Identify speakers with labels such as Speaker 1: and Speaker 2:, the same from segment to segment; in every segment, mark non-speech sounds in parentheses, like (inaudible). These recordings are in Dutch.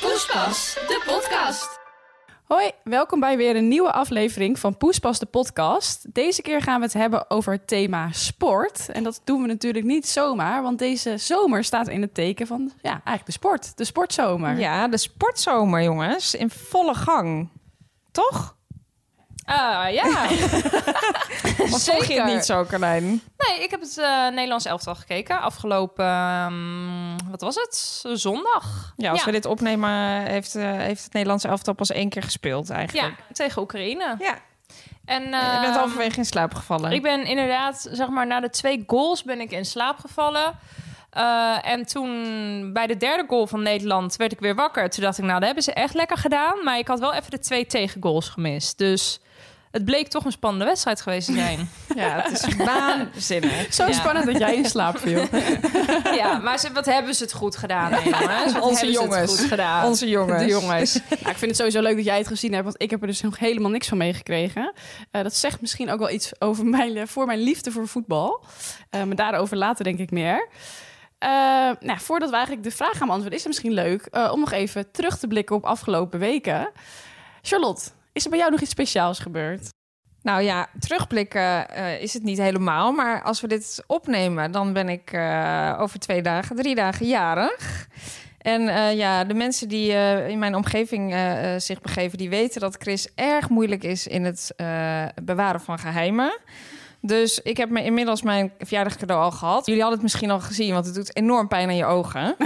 Speaker 1: Poespas, de podcast.
Speaker 2: Hoi, welkom bij weer een nieuwe aflevering van Poespas de podcast. Deze keer gaan we het hebben over het thema sport. En dat doen we natuurlijk niet zomaar, want deze zomer staat in het teken van ja, eigenlijk de sport, de sportzomer.
Speaker 3: Ja, de sportzomer, jongens. In volle gang. Toch?
Speaker 2: (laughs)
Speaker 1: Ah
Speaker 3: (laughs)
Speaker 1: ja,
Speaker 3: Of volg je
Speaker 1: Zeker.
Speaker 3: het niet zo, Carlijn?
Speaker 1: nee, ik heb het eh, Nederlands elftal gekeken afgelopen, ehm, wat was het? Zondag.
Speaker 3: Ja, als
Speaker 1: ja.
Speaker 3: we dit opnemen, eh, heeft, eh, heeft het Nederlands elftal pas één keer gespeeld
Speaker 1: Ja,
Speaker 3: eigenlijk.
Speaker 1: tegen Oekraïne.
Speaker 3: Ja.
Speaker 1: En
Speaker 3: Je bent
Speaker 1: ehm,
Speaker 3: halverwege in slaap gevallen.
Speaker 1: ik ben inderdaad, zeg maar, na de twee goals ben ik in slaap gevallen. Eh, en toen bij de derde goal van Nederland werd ik weer wakker. Toen dacht ik, nou, dat hebben ze echt lekker gedaan. Maar ik had wel even de twee tegengoals gemist. Dus het bleek toch een spannende wedstrijd geweest te zijn.
Speaker 3: Ja, het is (laughs) waanzinnig.
Speaker 2: Zo
Speaker 1: Ja.
Speaker 2: spannend dat jij in slaap viel.
Speaker 1: Ja, maar ze, wat hebben ze het goed gedaan, hè, jongens? Wat
Speaker 3: Onze
Speaker 1: hebben Ze het
Speaker 3: jongens.
Speaker 1: goed gedaan?
Speaker 3: Onze jongens.
Speaker 1: De jongens.
Speaker 3: (laughs)
Speaker 2: Nou, ik vind het sowieso leuk dat jij het gezien hebt, want ik heb er dus nog helemaal niks van meegekregen. Eh, dat zegt misschien ook wel iets over mijn, eh, voor mijn liefde voor voetbal. Eh, maar daarover later denk ik meer. Eh, nou, voordat we eigenlijk de vraag gaan beantwoorden, is het misschien leuk eh, om nog even terug te blikken op afgelopen weken. Charlotte, is er bij jou nog iets speciaals gebeurd?
Speaker 3: Nou ja, terugblikken eh, is het niet helemaal. Maar als we dit opnemen, dan ben ik eh, over twee dagen, drie dagen jarig. En eh, ja, de mensen die eh, in mijn omgeving eh, eh, zich begeven, die weten dat Chris erg moeilijk is in het eh, bewaren van geheimen. Dus ik heb me inmiddels mijn verjaardagscadeau al gehad. Jullie hadden het misschien al gezien, want het doet enorm pijn aan je ogen.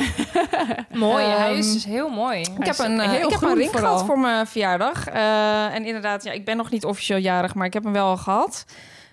Speaker 1: Mooi,
Speaker 3: Ehm,
Speaker 1: hij is dus heel mooi.
Speaker 3: Ik heb
Speaker 2: Hij is
Speaker 3: een, eh,
Speaker 2: heel
Speaker 3: ik heb
Speaker 2: groen
Speaker 3: een ring
Speaker 2: vooral.
Speaker 3: gehad voor mijn verjaardag. Eh, en inderdaad, ja, ik ben nog niet officieel jarig, maar ik heb hem wel al gehad.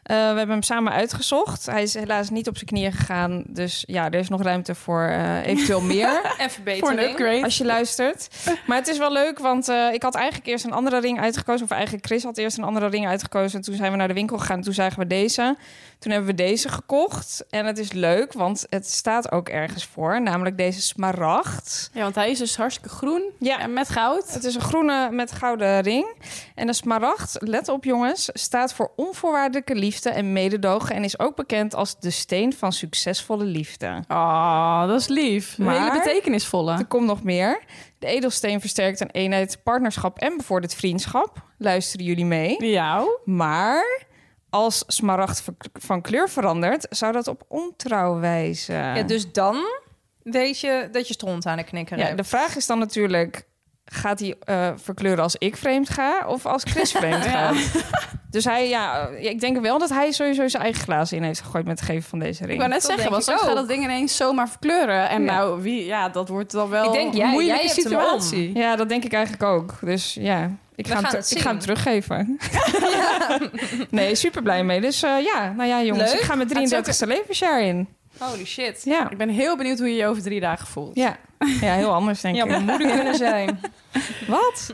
Speaker 3: Eh, we hebben hem samen uitgezocht. Hij is helaas niet op zijn knieën gegaan. Dus ja, er is nog ruimte voor eh,
Speaker 2: (laughs)
Speaker 3: eventueel meer.
Speaker 1: En
Speaker 2: Voor een
Speaker 1: verbetering.
Speaker 2: upgrade?
Speaker 3: Als je luistert. Maar het is wel leuk, want eh, ik had eigenlijk eerst een andere ring uitgekozen. Of eigenlijk Chris had eerst een andere ring uitgekozen. En toen zijn we naar de winkel gegaan. en Toen zagen we deze. Toen hebben we deze gekocht. En het is leuk, want het staat ook ergens voor. Namelijk deze smaragd.
Speaker 2: Ja, want hij is dus hartstikke groen
Speaker 3: Ja,
Speaker 2: en met goud.
Speaker 3: het is een groene met gouden ring. En een smaragd, let op jongens, staat voor onvoorwaardelijke liefde en mededogen. En is ook bekend als de steen van succesvolle liefde.
Speaker 2: Oh, dat is lief. Een
Speaker 3: Maar-
Speaker 2: hele
Speaker 3: Er
Speaker 2: betekenisvolle.
Speaker 3: komt nog meer. De edelsteen versterkt een eenheid, partnerschap en bevordert vriendschap. Luisteren jullie mee?
Speaker 2: Jou?
Speaker 3: Maar als smaragd van- van kleur verandert, zou dat op ontrouw wijzen.
Speaker 1: Ja, dus dan weet je dat je stront aan de knikker
Speaker 3: Ja,
Speaker 1: hebt.
Speaker 3: de vraag is dan natuurlijk: gaat hij eh, verkleuren als ik vreemd ga of als Chris vreemd gaat? Dus hij, ja, eh, ik denk wel dat hij sowieso zijn eigen glazen in heeft gegooid met het geven van deze
Speaker 2: Ik
Speaker 3: ring.
Speaker 2: wou net zeggen,
Speaker 1: denk
Speaker 2: want
Speaker 1: ik
Speaker 2: soms gaat
Speaker 1: ook.
Speaker 2: dat ding ineens zomaar verkleuren. En
Speaker 3: Ja.
Speaker 2: nou, wie, ja, dat wordt dan wel
Speaker 1: Ik denk, jij-
Speaker 2: een moeilijke
Speaker 1: jij hebt hem
Speaker 2: situatie.
Speaker 3: Ja, dat denk ik eigenlijk ook. Dus ja, ik
Speaker 1: We
Speaker 3: ga, hem,
Speaker 1: gaan
Speaker 3: ter-
Speaker 1: het
Speaker 3: ik ga hem
Speaker 1: zien.
Speaker 3: teruggeven. (laughs) nee, super blij mee. Dus eh, ja, nou ja, jongens,
Speaker 1: Leuk.
Speaker 3: ik ga mijn 33ste levensjaar in.
Speaker 1: Holy shit.
Speaker 3: Ja,
Speaker 2: Ik ben heel benieuwd hoe je je over drie dagen voelt.
Speaker 3: ja. ja heel anders denk
Speaker 1: Ja,
Speaker 3: ik.
Speaker 1: maar moeder kunnen zijn.
Speaker 3: (laughs) Wat?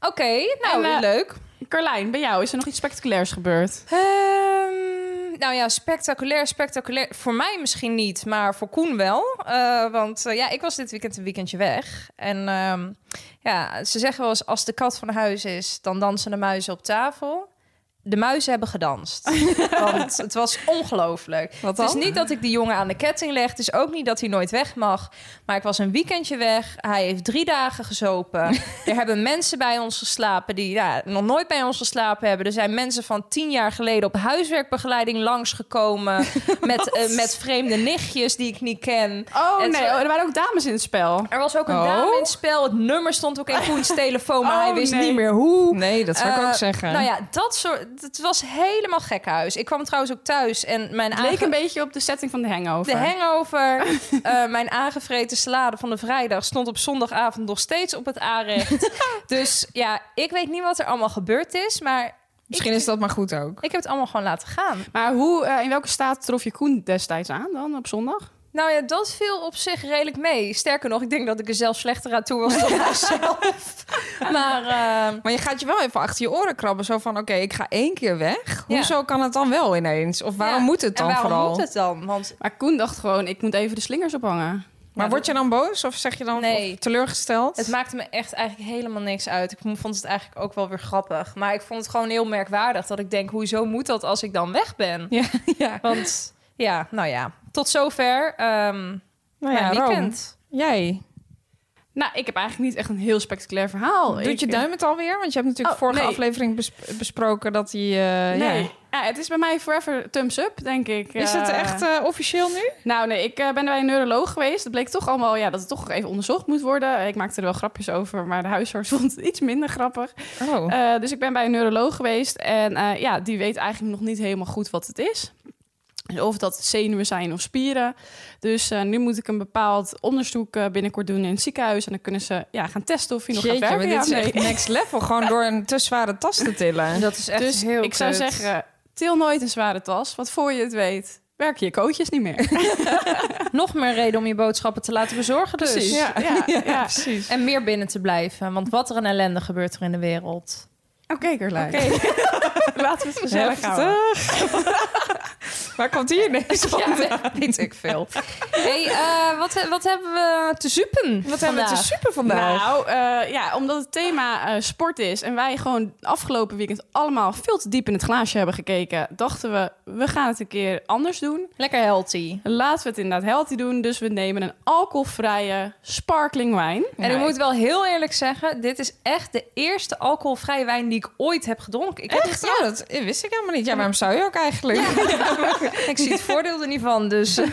Speaker 1: Oké, nou,
Speaker 2: En, eh,
Speaker 1: leuk.
Speaker 2: Carlijn, bij jou is er nog iets spectaculairs gebeurd?
Speaker 1: Ehm, nou ja, spectaculair, spectaculair. Voor mij misschien niet, maar voor Koen wel. Eh, want eh, ja, ik was dit weekend een weekendje weg. En ehm, ja, ze zeggen wel eens, als de kat van huis is, dan dansen de muizen op tafel. De muizen hebben
Speaker 3: (laughs)
Speaker 1: gedanst. Want het was ongelooflijk.
Speaker 3: Wat
Speaker 1: Het is
Speaker 3: dan?
Speaker 1: niet dat ik die jongen aan de ketting leg. Het is ook niet dat hij nooit weg mag. Maar ik was een weekendje weg. Hij heeft drie dagen
Speaker 3: (laughs)
Speaker 1: gezopen. Er hebben mensen bij ons geslapen die ja, nog nooit bij ons geslapen hebben. Er zijn mensen van tien jaar geleden op huiswerkbegeleiding
Speaker 3: (laughs)
Speaker 1: langsgekomen. met, eh, met vreemde nichtjes die ik niet ken.
Speaker 2: Oh
Speaker 1: Het-
Speaker 2: nee, oh, er waren ook dames in het spel.
Speaker 1: Er was ook een
Speaker 3: Oh.
Speaker 1: dame in het spel. Het nummer stond ook in
Speaker 3: (laughs)
Speaker 1: Koens telefoon, maar
Speaker 2: Oh,
Speaker 1: hij wist
Speaker 2: nee.
Speaker 1: niet meer hoe.
Speaker 3: Nee, Nou, dat zou ik
Speaker 1: Eh,
Speaker 3: ook zeggen.
Speaker 1: Nou ja, dat soort. Het was helemaal gekhuis. Ik kwam trouwens ook thuis en mijn
Speaker 2: Het leek een beetje op de setting van de hangover.
Speaker 1: de hangover,
Speaker 3: (laughs)
Speaker 1: eh, mijn aangevreten salade van de vrijdag stond op zondagavond nog steeds op het
Speaker 3: (laughs)
Speaker 1: aanrecht. dus ja, ik weet niet wat er allemaal gebeurd is, maar
Speaker 3: Misschien is dat maar goed ook.
Speaker 1: ik heb het allemaal gewoon laten gaan.
Speaker 2: maar hoe, eh, in welke staat trof je Koen destijds aan dan op zondag?
Speaker 1: Nou ja, dat viel op zich redelijk mee. Sterker nog, ik denk dat ik er zelf slechter aan toe was
Speaker 3: (laughs)
Speaker 1: dan mezelf. Maar eh,
Speaker 3: Maar je gaat je wel even achter je oren krabben. Zo van, oké, ik ga één keer weg.
Speaker 1: Ja.
Speaker 3: Hoezo kan het dan wel ineens? Of waarom
Speaker 1: ja,
Speaker 3: moet het dan
Speaker 1: en waarom
Speaker 3: vooral?
Speaker 1: moet het dan? Want
Speaker 2: Maar Koen dacht gewoon, ik moet even de slingers ophangen.
Speaker 3: Maar
Speaker 1: Ja,
Speaker 3: word je dan boos? Of zeg je dan
Speaker 1: Nee.
Speaker 3: of teleurgesteld? (laughs)
Speaker 1: het maakte me echt eigenlijk helemaal niks uit. Ik vond het eigenlijk ook wel weer grappig. Maar ik vond het gewoon heel merkwaardig dat ik denk... hoezo moet dat als ik dan weg ben?
Speaker 3: ja, ja.
Speaker 1: Want ja, nou ja, tot zover ehm
Speaker 3: Nou
Speaker 1: mijn
Speaker 3: ja, Rome,
Speaker 1: weekend.
Speaker 3: Jij.
Speaker 2: Nou, ik heb eigenlijk niet echt een heel spectaculair verhaal.
Speaker 3: Doet
Speaker 2: Oh, Ik-
Speaker 3: je duim het alweer? Want je hebt natuurlijk
Speaker 2: Oh,
Speaker 3: vorige
Speaker 2: nee.
Speaker 3: aflevering bes- besproken dat hij... eh,
Speaker 2: Nee.
Speaker 3: ja.
Speaker 2: Ja. het is bij mij forever thumbs up, denk ik.
Speaker 3: Is
Speaker 2: Eh,
Speaker 3: het echt eh, officieel nu?
Speaker 2: Nou, nee, ik eh, ben bij een neuroloog geweest. Dat bleek toch allemaal, ja, dat het toch even onderzocht moet worden. Eh, Ik maakte er wel grapjes over, maar de huisarts (laughs) vond het iets minder grappig.
Speaker 3: Oh.
Speaker 2: Eh, dus ik ben bij een neuroloog geweest. En eh, ja, die weet eigenlijk nog niet helemaal goed wat het is. Dus Of dat zenuwen zijn of spieren. Dus eh, nu moet ik een bepaald onderzoek eh, binnenkort doen in het ziekenhuis. En dan kunnen ze ja, gaan testen of je nog
Speaker 3: Jeetje,
Speaker 2: gaat
Speaker 3: maar
Speaker 2: werken.
Speaker 3: dit is
Speaker 2: ja, of
Speaker 3: echt
Speaker 2: nee.
Speaker 3: next level. Gewoon door een te zware tas te
Speaker 1: (laughs)
Speaker 3: tillen.
Speaker 1: Dat is echt
Speaker 2: Dus
Speaker 1: heel
Speaker 2: ik zou
Speaker 1: kut.
Speaker 2: zeggen, til nooit een zware tas. Want voor je het weet, werken je coaches niet meer.
Speaker 1: Nog meer reden om je boodschappen te laten bezorgen dus.
Speaker 2: (laughs) Ja,
Speaker 3: (laughs)
Speaker 2: ja, ja.
Speaker 3: precies.
Speaker 1: En meer binnen te blijven. Want wat er een ellende gebeurt er in de wereld.
Speaker 3: Oh,
Speaker 2: Oké, Carlijn.
Speaker 1: (laughs)
Speaker 2: (laughs) Laten we het gezellig houden.
Speaker 3: Waar komt hier (laughs) ineens van?
Speaker 1: Ja, weet ik veel. hey, eh, wat, he- wat hebben we te zupen
Speaker 3: Wat hebben we te
Speaker 1: vandaag?
Speaker 3: super vandaag?
Speaker 2: Nou, eh, ja, omdat het thema eh, sport is en wij gewoon afgelopen weekend allemaal veel te diep in het glaasje hebben gekeken, dachten we, we gaan het een keer anders doen.
Speaker 1: Lekker healthy.
Speaker 2: Laten we het inderdaad healthy doen, dus we nemen een alcoholvrije sparkling wijn.
Speaker 1: En ik moet wel heel eerlijk zeggen, dit is echt de eerste alcoholvrije wijn die ik ooit heb gedronken. Ik, heb
Speaker 3: Echt? Oh, dat wist ik helemaal niet. Ja, waarom zou je ook eigenlijk?
Speaker 1: niet- ik zie (laughs) het voordeel er niet van, dus eh,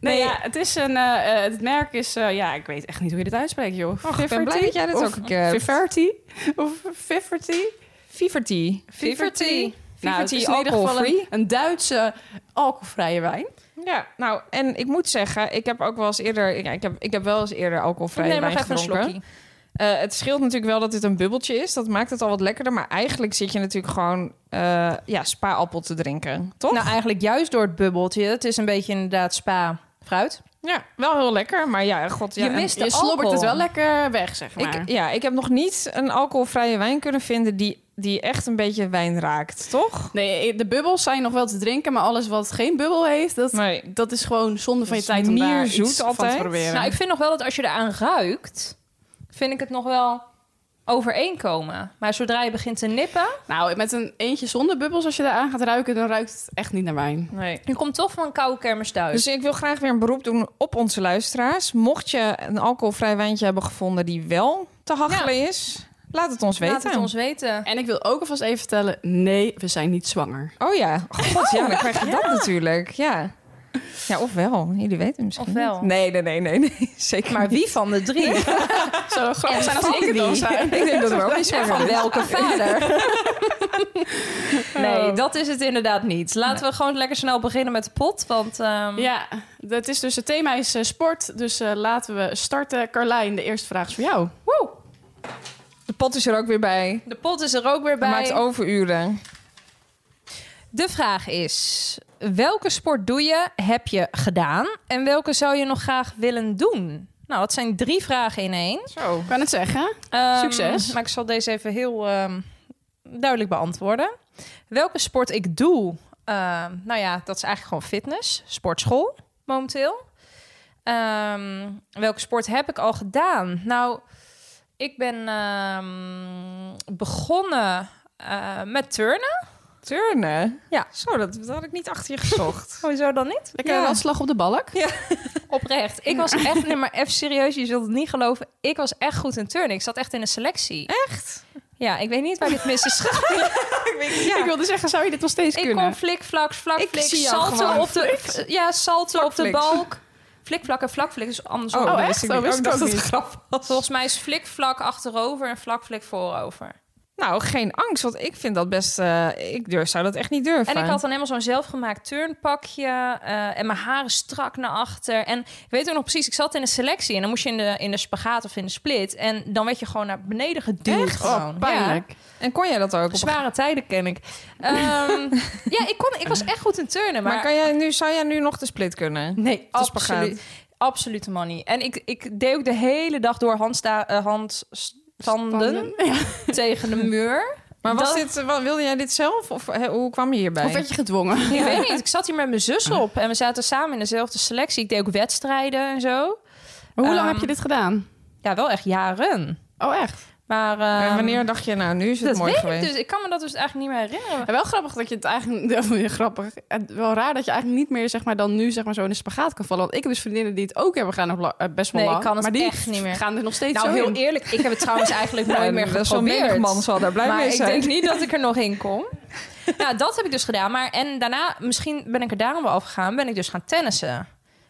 Speaker 2: Nee, ja, het is een, eh, eh, het merk is, eh, ja, ik weet echt niet hoe je dit uitspreekt, joh.
Speaker 3: Och, ik ben blij
Speaker 2: Fiverty?
Speaker 3: dat jij dit
Speaker 2: Of
Speaker 3: ook een keer hebt.
Speaker 2: Fiverty? Of Fiverty?
Speaker 3: Fever tea.
Speaker 1: Fiverty.
Speaker 2: Nou, het
Speaker 3: Fiverty,
Speaker 2: is in ieder geval een,
Speaker 3: alcoholfree.
Speaker 2: een Duitse alcoholvrije wijn.
Speaker 3: Ja, nou, en ik moet zeggen, ik heb ook wel eens eerder... Ja, ik, heb, ik heb wel eens eerder
Speaker 1: Ik
Speaker 3: alcoholvrije
Speaker 1: neem nog
Speaker 3: wijn
Speaker 1: even een
Speaker 3: gedronken.
Speaker 1: slokje.
Speaker 3: Eh, het scheelt natuurlijk wel dat dit een bubbeltje is. Dat maakt het al wat lekkerder. Maar eigenlijk zit je natuurlijk gewoon eh ja, spa-appel te drinken, toch?
Speaker 1: Nou, eigenlijk juist door het bubbeltje. Het is een beetje inderdaad spa fruit.
Speaker 3: ja, wel heel lekker. Maar ja, god, ja,
Speaker 1: Je
Speaker 3: en-
Speaker 1: mist de
Speaker 2: Je slobbert
Speaker 1: alcohol.
Speaker 2: het wel lekker weg, zeg maar.
Speaker 3: Ik, ja, ik heb nog niet een alcoholvrije wijn kunnen vinden die, die echt een beetje wijn raakt, toch?
Speaker 2: Nee, de bubbels zijn nog wel te drinken, maar alles wat geen bubbel heeft, dat,
Speaker 3: Nee.
Speaker 2: dat is gewoon zonde van je
Speaker 3: Dat is
Speaker 2: tijd om daar
Speaker 3: mierzoet
Speaker 2: iets van
Speaker 3: altijd.
Speaker 2: te proberen.
Speaker 1: Nou, ik vind nog wel dat als je eraan ruikt, vind ik het nog wel overeenkomen. Maar zodra je begint te nippen,
Speaker 2: Nou, met een eentje zonder bubbels, als je daar aan gaat ruiken, dan ruikt het echt niet naar wijn.
Speaker 3: Nee.
Speaker 1: je komt toch van een koude kermis thuis.
Speaker 3: Dus ik wil graag weer een beroep doen op onze luisteraars. Mocht je een alcoholvrij wijntje hebben gevonden die wel te hachelen is, laat het ons
Speaker 1: Laat
Speaker 3: weten.
Speaker 1: het ons weten.
Speaker 2: En ik wil ook alvast even vertellen, nee, we zijn niet zwanger.
Speaker 3: Oh ja, god ja, dan krijg je dat natuurlijk. Ja. ja, ofwel. Jullie weten het misschien
Speaker 1: Ofwel.
Speaker 3: niet. Nee, nee, nee, nee, nee. (laughs) Zeker
Speaker 1: Maar wie van de drie? (laughs)
Speaker 2: Zou grappig zijn als
Speaker 1: van
Speaker 2: ik het al
Speaker 1: wie?
Speaker 2: zijn. (laughs)
Speaker 3: niet. (laughs) Ik denk dat we ook
Speaker 1: En
Speaker 3: niet zo
Speaker 1: van welke
Speaker 3: (laughs)
Speaker 1: vader? nee, dat is het inderdaad niet. Laten we gewoon lekker snel beginnen met de pot. Want ehm,
Speaker 2: Ja, dat is dus het thema is eh, sport, dus eh, laten we starten. Carlijn, de eerste vraag is voor jou.
Speaker 1: woe,
Speaker 3: De pot is er ook weer bij.
Speaker 1: de pot is er ook weer
Speaker 3: bij. Maakt
Speaker 1: bij.
Speaker 3: overuren.
Speaker 1: De vraag is, welke sport doe je, heb je gedaan? En welke zou je nog graag willen doen? Nou, dat zijn drie vragen in één.
Speaker 3: Zo.
Speaker 2: Kan het zeggen?
Speaker 1: Ehm,
Speaker 2: Succes.
Speaker 1: Maar ik zal deze even heel ehm, duidelijk beantwoorden. Welke sport ik doe? Ehm, nou ja, dat is eigenlijk gewoon fitness, sportschool momenteel. Ehm, welke sport heb ik al gedaan? Nou, ik ben ehm, begonnen eh, met turnen.
Speaker 3: Turnen?
Speaker 1: Ja.
Speaker 3: Zo, dat, dat had ik niet achter je gezocht.
Speaker 1: Hoezo dan niet?
Speaker 2: Lekker
Speaker 3: Ja.
Speaker 2: wat slag op de balk.
Speaker 1: Oprecht. Ik was echt, nee, maar even serieus, je zult het niet geloven. Ik was echt goed in turnen. Ik zat echt in een selectie.
Speaker 3: Echt?
Speaker 1: Ja, ik weet niet waar dit mis is
Speaker 3: (laughs)
Speaker 1: gegaan.
Speaker 2: Ik wilde zeggen, zou je dit nog steeds
Speaker 1: Ik
Speaker 2: kunnen?
Speaker 1: kon flikvlak, vlakflik,
Speaker 3: Ik zie jou
Speaker 1: salto
Speaker 3: gewoon.
Speaker 1: op de, v- ja, salto op de
Speaker 3: Vlakfliks.
Speaker 1: balk. Flikvlak en vlakflik is andersom.
Speaker 2: Oh,
Speaker 3: dat
Speaker 2: echt?
Speaker 3: wist ik
Speaker 2: Oh,
Speaker 3: niet.
Speaker 2: wist ik
Speaker 3: dacht
Speaker 2: ook
Speaker 3: dat het grap was.
Speaker 1: Volgens mij is flikvlak achterover en vlakflik voorover.
Speaker 3: Nou, geen angst, want ik vind dat best... eh, ik durf, zou dat echt niet durven.
Speaker 1: En ik had dan helemaal zo'n zelfgemaakt turnpakje eh, en mijn haren strak naar achter. En ik weet ook nog precies, ik zat in een selectie en dan moest je in de, in de spagaat of in de split. En dan werd je gewoon naar beneden geduwd.
Speaker 3: Echt?
Speaker 1: Gewoon.
Speaker 2: Oh, pijnlijk.
Speaker 3: En kon jij dat ook? op-
Speaker 1: Zware tijden ken ik. Ehm,
Speaker 3: (laughs)
Speaker 1: ja, ik, kon, ik was echt goed in turnen. Maar,
Speaker 3: Maar kan jij nu, zou jij nu nog de split kunnen?
Speaker 1: nee,
Speaker 3: de spagaat.
Speaker 1: absoluut. Absoluut man niet. En ik, ik deed ook de hele dag door handsta, eh, handstanden
Speaker 2: Ja.
Speaker 1: (laughs) tegen de muur.
Speaker 3: Maar was
Speaker 1: Dat-
Speaker 3: dit, wa- wilde jij dit zelf? Of hè, hoe kwam je hierbij?
Speaker 2: Of werd je gedwongen?
Speaker 1: Ik weet niet, ik zat hier met mijn zus op en we zaten samen in dezelfde selectie. Ik deed ook wedstrijden en zo.
Speaker 2: Maar hoe lang
Speaker 1: Ehm,
Speaker 2: heb je dit gedaan?
Speaker 1: Ja, wel echt jaren.
Speaker 2: Oh, echt?
Speaker 1: Maar
Speaker 3: en
Speaker 1: ehm,
Speaker 3: wanneer dacht je, nou, nu is het
Speaker 1: dat
Speaker 3: mooi
Speaker 1: weet
Speaker 3: geweest?
Speaker 1: ik dus. Ik kan me dat dus eigenlijk niet meer herinneren.
Speaker 2: En wel grappig dat je het eigenlijk... (laughs) Ja, grappig. En Wel raar dat je eigenlijk niet meer zeg maar, dan nu zeg maar, zo in de spagaat kan vallen. Want ik heb dus vriendinnen die het ook hebben gedaan nog la- eh, best wel
Speaker 1: Nee, ik
Speaker 2: lang.
Speaker 1: kan het
Speaker 2: maar die
Speaker 1: echt niet meer.
Speaker 2: gaan er nog steeds
Speaker 1: Nou,
Speaker 2: zo
Speaker 1: heel
Speaker 2: in.
Speaker 1: eerlijk, ik heb het trouwens (laughs) eigenlijk nooit meer
Speaker 3: Dat is wel
Speaker 1: geprobeerd.
Speaker 3: menig man zal daar blij
Speaker 1: maar
Speaker 3: mee
Speaker 1: ik
Speaker 3: zijn.
Speaker 1: denk niet dat ik er nog in (laughs) kom. Nou, dat heb ik dus gedaan. Maar en daarna, misschien ben ik er daarom wel afgegaan, ben ik dus gaan tennissen.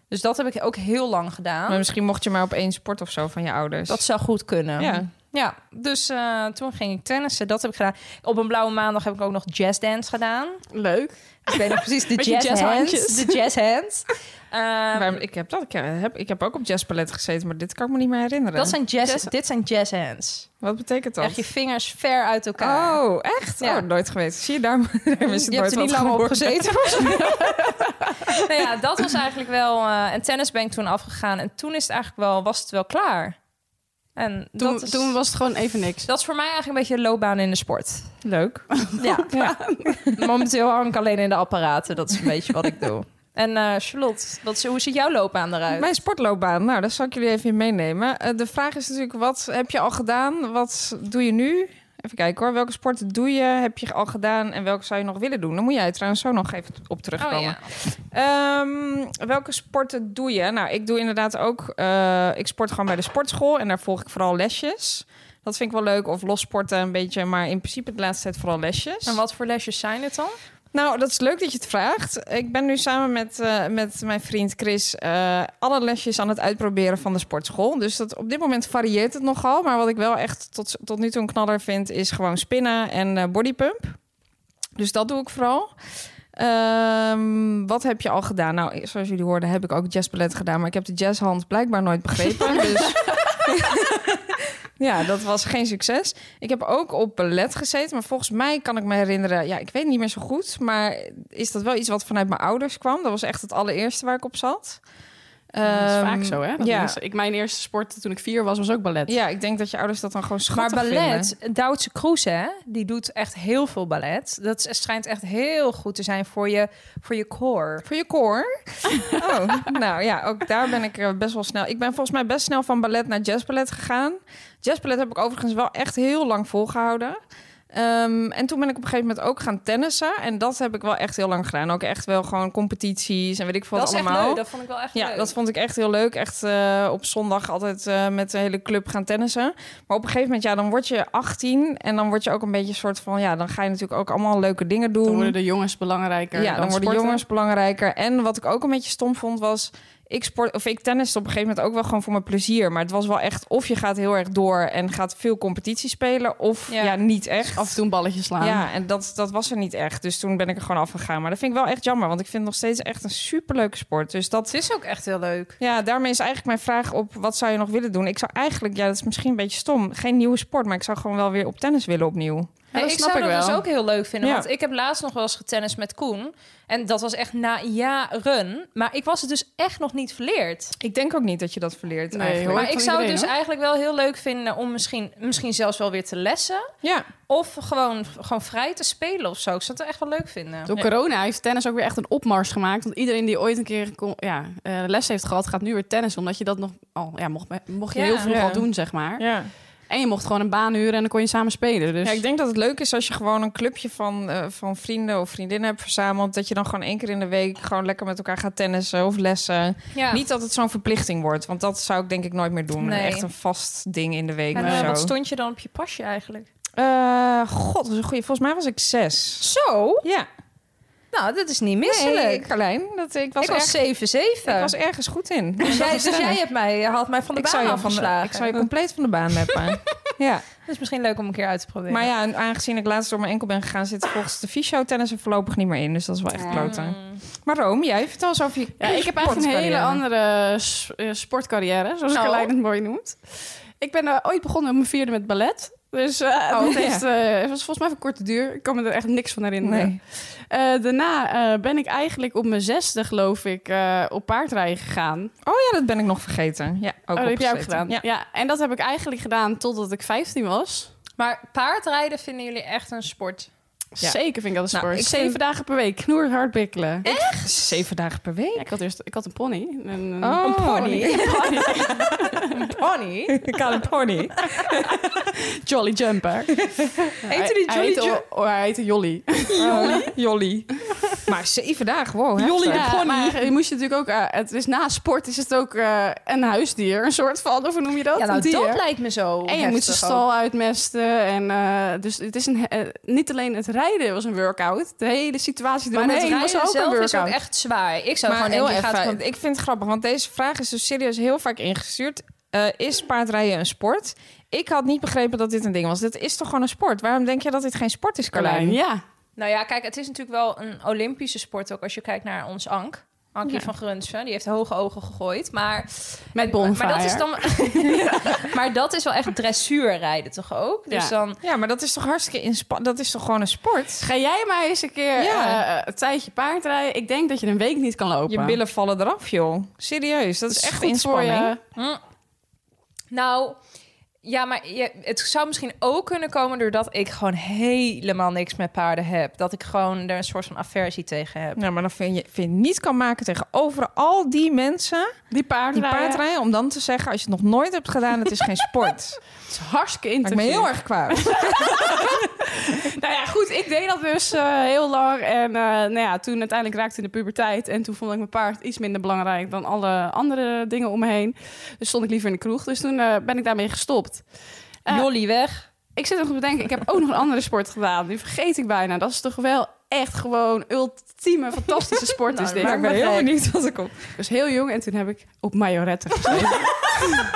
Speaker 1: Dus dat heb ik ook heel lang
Speaker 3: Maar
Speaker 1: gedaan.
Speaker 3: misschien mocht je maar op één sport of zo van je ouders.
Speaker 1: Dat zou goed kunnen.
Speaker 3: Ja.
Speaker 1: Ja, dus eh, toen ging ik tennissen. Dat heb ik gedaan. Op een blauwe maandag heb ik ook nog jazzdance gedaan.
Speaker 2: Leuk.
Speaker 1: Ik weet nog precies (laughs) de
Speaker 2: Met je
Speaker 1: jazz hands.
Speaker 2: jazzhandjes.
Speaker 1: De jazz (laughs) hands. Ehm,
Speaker 3: Waarom- ik, heb dat, ik, heb, ik heb ook op jazzpalet gezeten, maar dit kan ik me niet meer herinneren.
Speaker 1: dat zijn jazz, dit zijn jazz hands.
Speaker 3: Wat betekent dat?
Speaker 1: Echt je vingers ver uit elkaar.
Speaker 3: Oh, echt?
Speaker 1: Ja.
Speaker 3: Oh, nooit geweest. Zie je, daar, daarom (laughs) is het
Speaker 1: je
Speaker 3: nooit
Speaker 1: hebt er niet
Speaker 3: wat
Speaker 1: lang op
Speaker 3: geworden.
Speaker 1: gezeten. (laughs) nou ja, dat was eigenlijk wel... eh, en tennis ben ik toen afgegaan. En toen is het eigenlijk wel, was het wel klaar. En
Speaker 2: Toen,
Speaker 1: dat, is,
Speaker 2: toen was het gewoon even niks.
Speaker 1: dat is voor mij eigenlijk een beetje een loopbaan in de sport.
Speaker 3: Leuk.
Speaker 1: (laughs) Ja. Momenteel hang ik alleen in de apparaten. Dat is een beetje wat ik doe. En eh, Charlotte, wat, is- hoe ziet jouw loopbaan eruit?
Speaker 3: Mijn sportloopbaan, nou, daar zal ik jullie even in meenemen. Eh, de vraag is natuurlijk, wat heb je al gedaan? Wat doe je nu? Even kijken hoor, welke sporten doe je? Heb je al gedaan? En welke zou je nog willen doen? Dan moet jij trouwens zo nog even op terugkomen.
Speaker 1: Oh, ja.
Speaker 3: Ehm, welke sporten doe je? Nou, ik doe inderdaad ook. eh, ik sport gewoon bij de sportschool en daar volg ik vooral lesjes. Dat vind ik wel leuk. Of lossporten een beetje, maar in principe de laatste tijd vooral lesjes.
Speaker 1: En wat voor lesjes zijn het dan?
Speaker 3: Nou, dat is leuk dat je het vraagt. Ik ben nu samen met, eh, met mijn vriend Chris eh, alle lesjes aan het uitproberen van de sportschool. Dus dat, op dit moment varieert het nogal. Maar wat ik wel echt tot, tot nu toe een knaller vind, is gewoon spinnen en eh, bodypump. Dus dat doe ik vooral. Ehm, wat heb je al gedaan? Nou, zoals jullie hoorden, heb ik ook jazzballet gedaan. Maar ik heb de jazzhand blijkbaar nooit
Speaker 2: (laughs)
Speaker 3: begrepen. dus (laughs) ja, dat was geen succes. Ik heb ook op ballet gezeten, maar volgens mij kan ik me herinneren... Ja, ik weet niet meer zo goed, maar is dat wel iets wat vanuit mijn ouders kwam? Dat was echt het allereerste waar ik op zat.
Speaker 2: dat is vaak
Speaker 3: Ehm,
Speaker 2: zo, hè? Dat
Speaker 3: ja.
Speaker 2: mensen- ik, mijn eerste sport toen ik vier was, was ook ballet.
Speaker 3: Ja, ik denk dat je ouders dat dan gewoon
Speaker 1: Maar
Speaker 3: schattig
Speaker 1: ballet,
Speaker 3: vinden.
Speaker 1: Duitse Kroes, hè, die doet echt heel veel ballet. Dat is- schijnt echt heel goed te zijn voor je, voor je core.
Speaker 3: Voor je koor. (laughs) oh, nou ja, ook daar ben ik eh, best wel snel. Ik ben volgens mij best snel van ballet naar jazzballet gegaan. Jazzballet heb ik overigens wel echt heel lang volgehouden. Ehm, en toen ben ik op een gegeven moment ook gaan tennissen. En dat heb ik wel echt heel lang gedaan. Ook echt wel gewoon competities en weet ik veel
Speaker 1: dat
Speaker 3: wat
Speaker 1: is echt
Speaker 3: allemaal.
Speaker 1: leuk, dat vond ik wel echt
Speaker 3: Ja,
Speaker 1: leuk.
Speaker 3: dat vond ik echt heel leuk. Echt eh, op zondag altijd eh, met de hele club gaan tennissen. Maar op een gegeven moment, ja, dan word je 18 en dan word je ook een beetje een soort van, ja, dan ga je natuurlijk ook allemaal leuke dingen doen.
Speaker 2: Dan worden de jongens belangrijker.
Speaker 3: ja, dan worden
Speaker 2: sporten.
Speaker 3: jongens belangrijker. En wat ik ook een beetje stom vond was, ik sport of ik tennis op een gegeven moment ook wel gewoon voor mijn plezier. Maar het was wel echt of je gaat heel erg door en gaat veel competitie spelen, of ja,
Speaker 1: Ja.
Speaker 3: niet echt.
Speaker 2: Dus Af en toe een balletje slaan.
Speaker 3: Ja, en dat, dat was er niet echt. Dus toen ben ik er gewoon afgegaan. Maar dat vind ik wel echt jammer, want ik vind het nog steeds echt een superleuke sport. Dus dat
Speaker 1: Het is ook echt heel leuk.
Speaker 3: ja, daarmee is eigenlijk mijn vraag op wat zou je nog willen doen? Ik zou eigenlijk, ja, dat is misschien een beetje stom, geen nieuwe sport, maar ik zou gewoon wel weer op tennis willen opnieuw.
Speaker 2: dat
Speaker 1: ik
Speaker 2: snap
Speaker 1: zou
Speaker 2: ik
Speaker 1: dat
Speaker 2: wel.
Speaker 1: dus ook heel leuk vinden.
Speaker 3: Ja.
Speaker 1: Want ik heb laatst nog wel eens getennist met Koen. En dat was echt na jaren. Maar ik was het dus echt nog niet verleerd.
Speaker 3: Ik denk ook niet dat je dat verleert
Speaker 2: Nee,
Speaker 3: eigenlijk.
Speaker 2: hoor.
Speaker 1: Maar ik
Speaker 2: van
Speaker 1: zou het
Speaker 2: iedereen,
Speaker 1: dus
Speaker 2: hoor.
Speaker 1: eigenlijk wel heel leuk vinden om misschien, misschien zelfs wel weer te lessen.
Speaker 3: Ja,
Speaker 1: Of gewoon, gewoon vrij te spelen of zo. Ik zou het echt wel leuk vinden.
Speaker 2: Door corona heeft tennis ook weer echt een opmars gemaakt. Want iedereen die ooit een keer kon- ja, eh, les heeft gehad, gaat nu weer tennis. Omdat je dat nog al, ja, mocht, mocht je
Speaker 1: Ja.
Speaker 2: heel vroeg
Speaker 3: Ja.
Speaker 2: al doen, zeg maar.
Speaker 3: ja.
Speaker 2: En je mocht gewoon een baan huren en dan kon je samen spelen. Dus
Speaker 3: ja, ik denk dat het leuk is als je gewoon een clubje van, eh, van vrienden of vriendinnen hebt verzameld. Dat je dan gewoon één keer in de week gewoon lekker met elkaar gaat tennissen of lessen.
Speaker 1: Ja.
Speaker 3: Niet dat het zo'n verplichting wordt, want dat zou ik denk ik nooit meer doen.
Speaker 1: Nee.
Speaker 3: Echt een vast ding in de week
Speaker 1: En
Speaker 3: of
Speaker 1: eh,
Speaker 3: zo.
Speaker 1: wat stond je dan op je pasje eigenlijk?
Speaker 3: Eh, God, dat is een goede. Volgens mij was ik zes.
Speaker 1: Zo?
Speaker 3: Ja,
Speaker 1: Nou, dat is niet
Speaker 3: nee,
Speaker 1: misselijk.
Speaker 3: Carlijn, dat, ik was
Speaker 1: ik was 7-7.
Speaker 3: Ik was ergens goed in. (laughs)
Speaker 1: Dus jij, dus jij hebt mij, had mij van de
Speaker 3: ik
Speaker 1: baan
Speaker 3: zou je van de,
Speaker 1: afgeslagen.
Speaker 3: (laughs) Ik zou je compleet van de baan hebben. ja.
Speaker 1: is misschien leuk om een keer uit te proberen.
Speaker 3: Maar ja, en aangezien ik laatst door mijn enkel ben gegaan, zit volgens de fysio tennis er voorlopig niet meer in. Dus dat is wel echt
Speaker 1: Mm.
Speaker 3: kloten. Maar Rome, jij vertel eens over je
Speaker 2: Ja, ik heb eigenlijk een hele
Speaker 3: sportcarrière.
Speaker 2: andere s- eh, sportcarrière, zoals
Speaker 1: Oh.
Speaker 2: Carlijn het mooi noemt. Ik ben eh, ooit begonnen op mijn vierde met ballet. Dus eh dat
Speaker 3: Oh, ja.
Speaker 2: heeft, eh, het was volgens mij van korte duur. Ik kan me er echt niks van herinneren.
Speaker 3: Nee.
Speaker 2: Eh, daarna eh, ben ik eigenlijk op mijn zesde, geloof ik, eh, op paardrijden gegaan.
Speaker 3: Oh ja, dat ben ik nog vergeten. Ja, ook
Speaker 2: oh, dat heb jij ook
Speaker 3: opgezeten.
Speaker 2: gedaan.
Speaker 3: Ja.
Speaker 2: en dat heb ik eigenlijk gedaan totdat ik 15 was.
Speaker 1: Maar paardrijden vinden jullie echt een
Speaker 3: (laughs)
Speaker 1: sport?
Speaker 3: Ja.
Speaker 2: Zeker vind ik dat een
Speaker 3: Nou,
Speaker 2: sport.
Speaker 3: ik
Speaker 2: Zeven
Speaker 3: vind-
Speaker 2: dagen per week, knoer hard bikkelen.
Speaker 3: Zeven dagen per week.
Speaker 2: Ja, ik, had eerst, ik had een pony. Een,
Speaker 3: Oh.
Speaker 2: een pony. (laughs) Een pony.
Speaker 1: Pony?
Speaker 3: Ik had (laughs) een pony.
Speaker 2: Jolly Jumper.
Speaker 1: (laughs) Heette die Jolly Jumper?
Speaker 2: Jumper? Hij heette
Speaker 1: (laughs)
Speaker 2: Jolly.
Speaker 3: Jolly. Jolly. Maar zeven dagen, wow. heftig.
Speaker 2: Ja, maar je moest je natuurlijk ook... eh, het is na sport is het ook eh, een huisdier. Een soort van, of hoe noem je dat?
Speaker 1: Ja, nou,
Speaker 2: een dier.
Speaker 1: dat lijkt me zo.
Speaker 2: en je
Speaker 1: heftig
Speaker 2: moet de
Speaker 1: ook.
Speaker 2: stal uitmesten. En, eh, dus het is een, eh, niet alleen het rijden was een workout. De hele situatie
Speaker 1: Maar het
Speaker 2: eromheen
Speaker 1: rijden
Speaker 2: was ook een
Speaker 1: zelf
Speaker 2: workout.
Speaker 1: is ook echt zwaar. Ik zou
Speaker 3: maar
Speaker 1: gewoon heel
Speaker 3: heel
Speaker 1: denken, je
Speaker 3: even,
Speaker 1: gaat gewoon...
Speaker 3: ik vind het grappig, want deze vraag is dus serieus heel vaak ingestuurd. Eh, is paardrijden een sport? Ik had niet begrepen dat dit een ding was. Dit is toch gewoon een sport? Waarom denk je dat dit geen sport is, Carlijn?
Speaker 2: Carlijn, ja.
Speaker 1: Nou ja, kijk, het is natuurlijk wel een Olympische sport ook als je kijkt naar ons Ank. Ankie van Grunsven, die heeft hoge ogen gegooid, maar...
Speaker 2: Met
Speaker 1: en- maar-
Speaker 2: bonfire.
Speaker 1: Maar dat is dan... maar dat is wel echt dressuurrijden toch ook?
Speaker 2: Ja.
Speaker 1: Dus dan...
Speaker 3: Ja, maar dat is toch hartstikke inspa- Dat is toch gewoon een sport?
Speaker 2: Ga jij maar eens een keer
Speaker 3: Ja.
Speaker 2: eh, een tijdje paardrijden. Ik denk dat je een week niet kan lopen.
Speaker 3: Je billen vallen eraf, joh. Serieus, dat is,
Speaker 2: Dat
Speaker 3: echt
Speaker 2: goed voor je.
Speaker 3: inspanning.
Speaker 1: Nou, ja, maar je, het zou misschien ook kunnen komen doordat ik gewoon helemaal niks met paarden heb. Dat ik gewoon er een soort van aversie tegen heb.
Speaker 3: Nou, maar dan vind je vind je niet kan maken tegenover al die mensen
Speaker 2: Die paardrijden.
Speaker 3: die paardrijden... om dan te zeggen, als je het nog nooit hebt gedaan, het is geen
Speaker 1: (laughs)
Speaker 3: sport.
Speaker 2: Het is hartstikke
Speaker 3: Maakt me
Speaker 2: interessant.
Speaker 3: heel erg kwaad.
Speaker 2: Nou ja, goed. Ik deed dat dus eh, heel lang. En eh, nou ja, toen uiteindelijk raakte ik in de puberteit. En toen vond ik mijn paard iets minder belangrijk dan alle andere dingen om me heen. Dus stond ik liever in de kroeg. Dus toen eh, ben ik daarmee gestopt. Eh,
Speaker 1: Jolly weg.
Speaker 2: Ik zit nog te bedenken, ik heb ook nog een andere sport gedaan. Die vergeet ik bijna. Dat is toch wel echt gewoon ultieme, fantastische sport is dit.
Speaker 3: Maar ik ben heel benieuwd wat er komt.
Speaker 2: Ik was heel jong en toen heb ik op majorette gezeten. (laughs)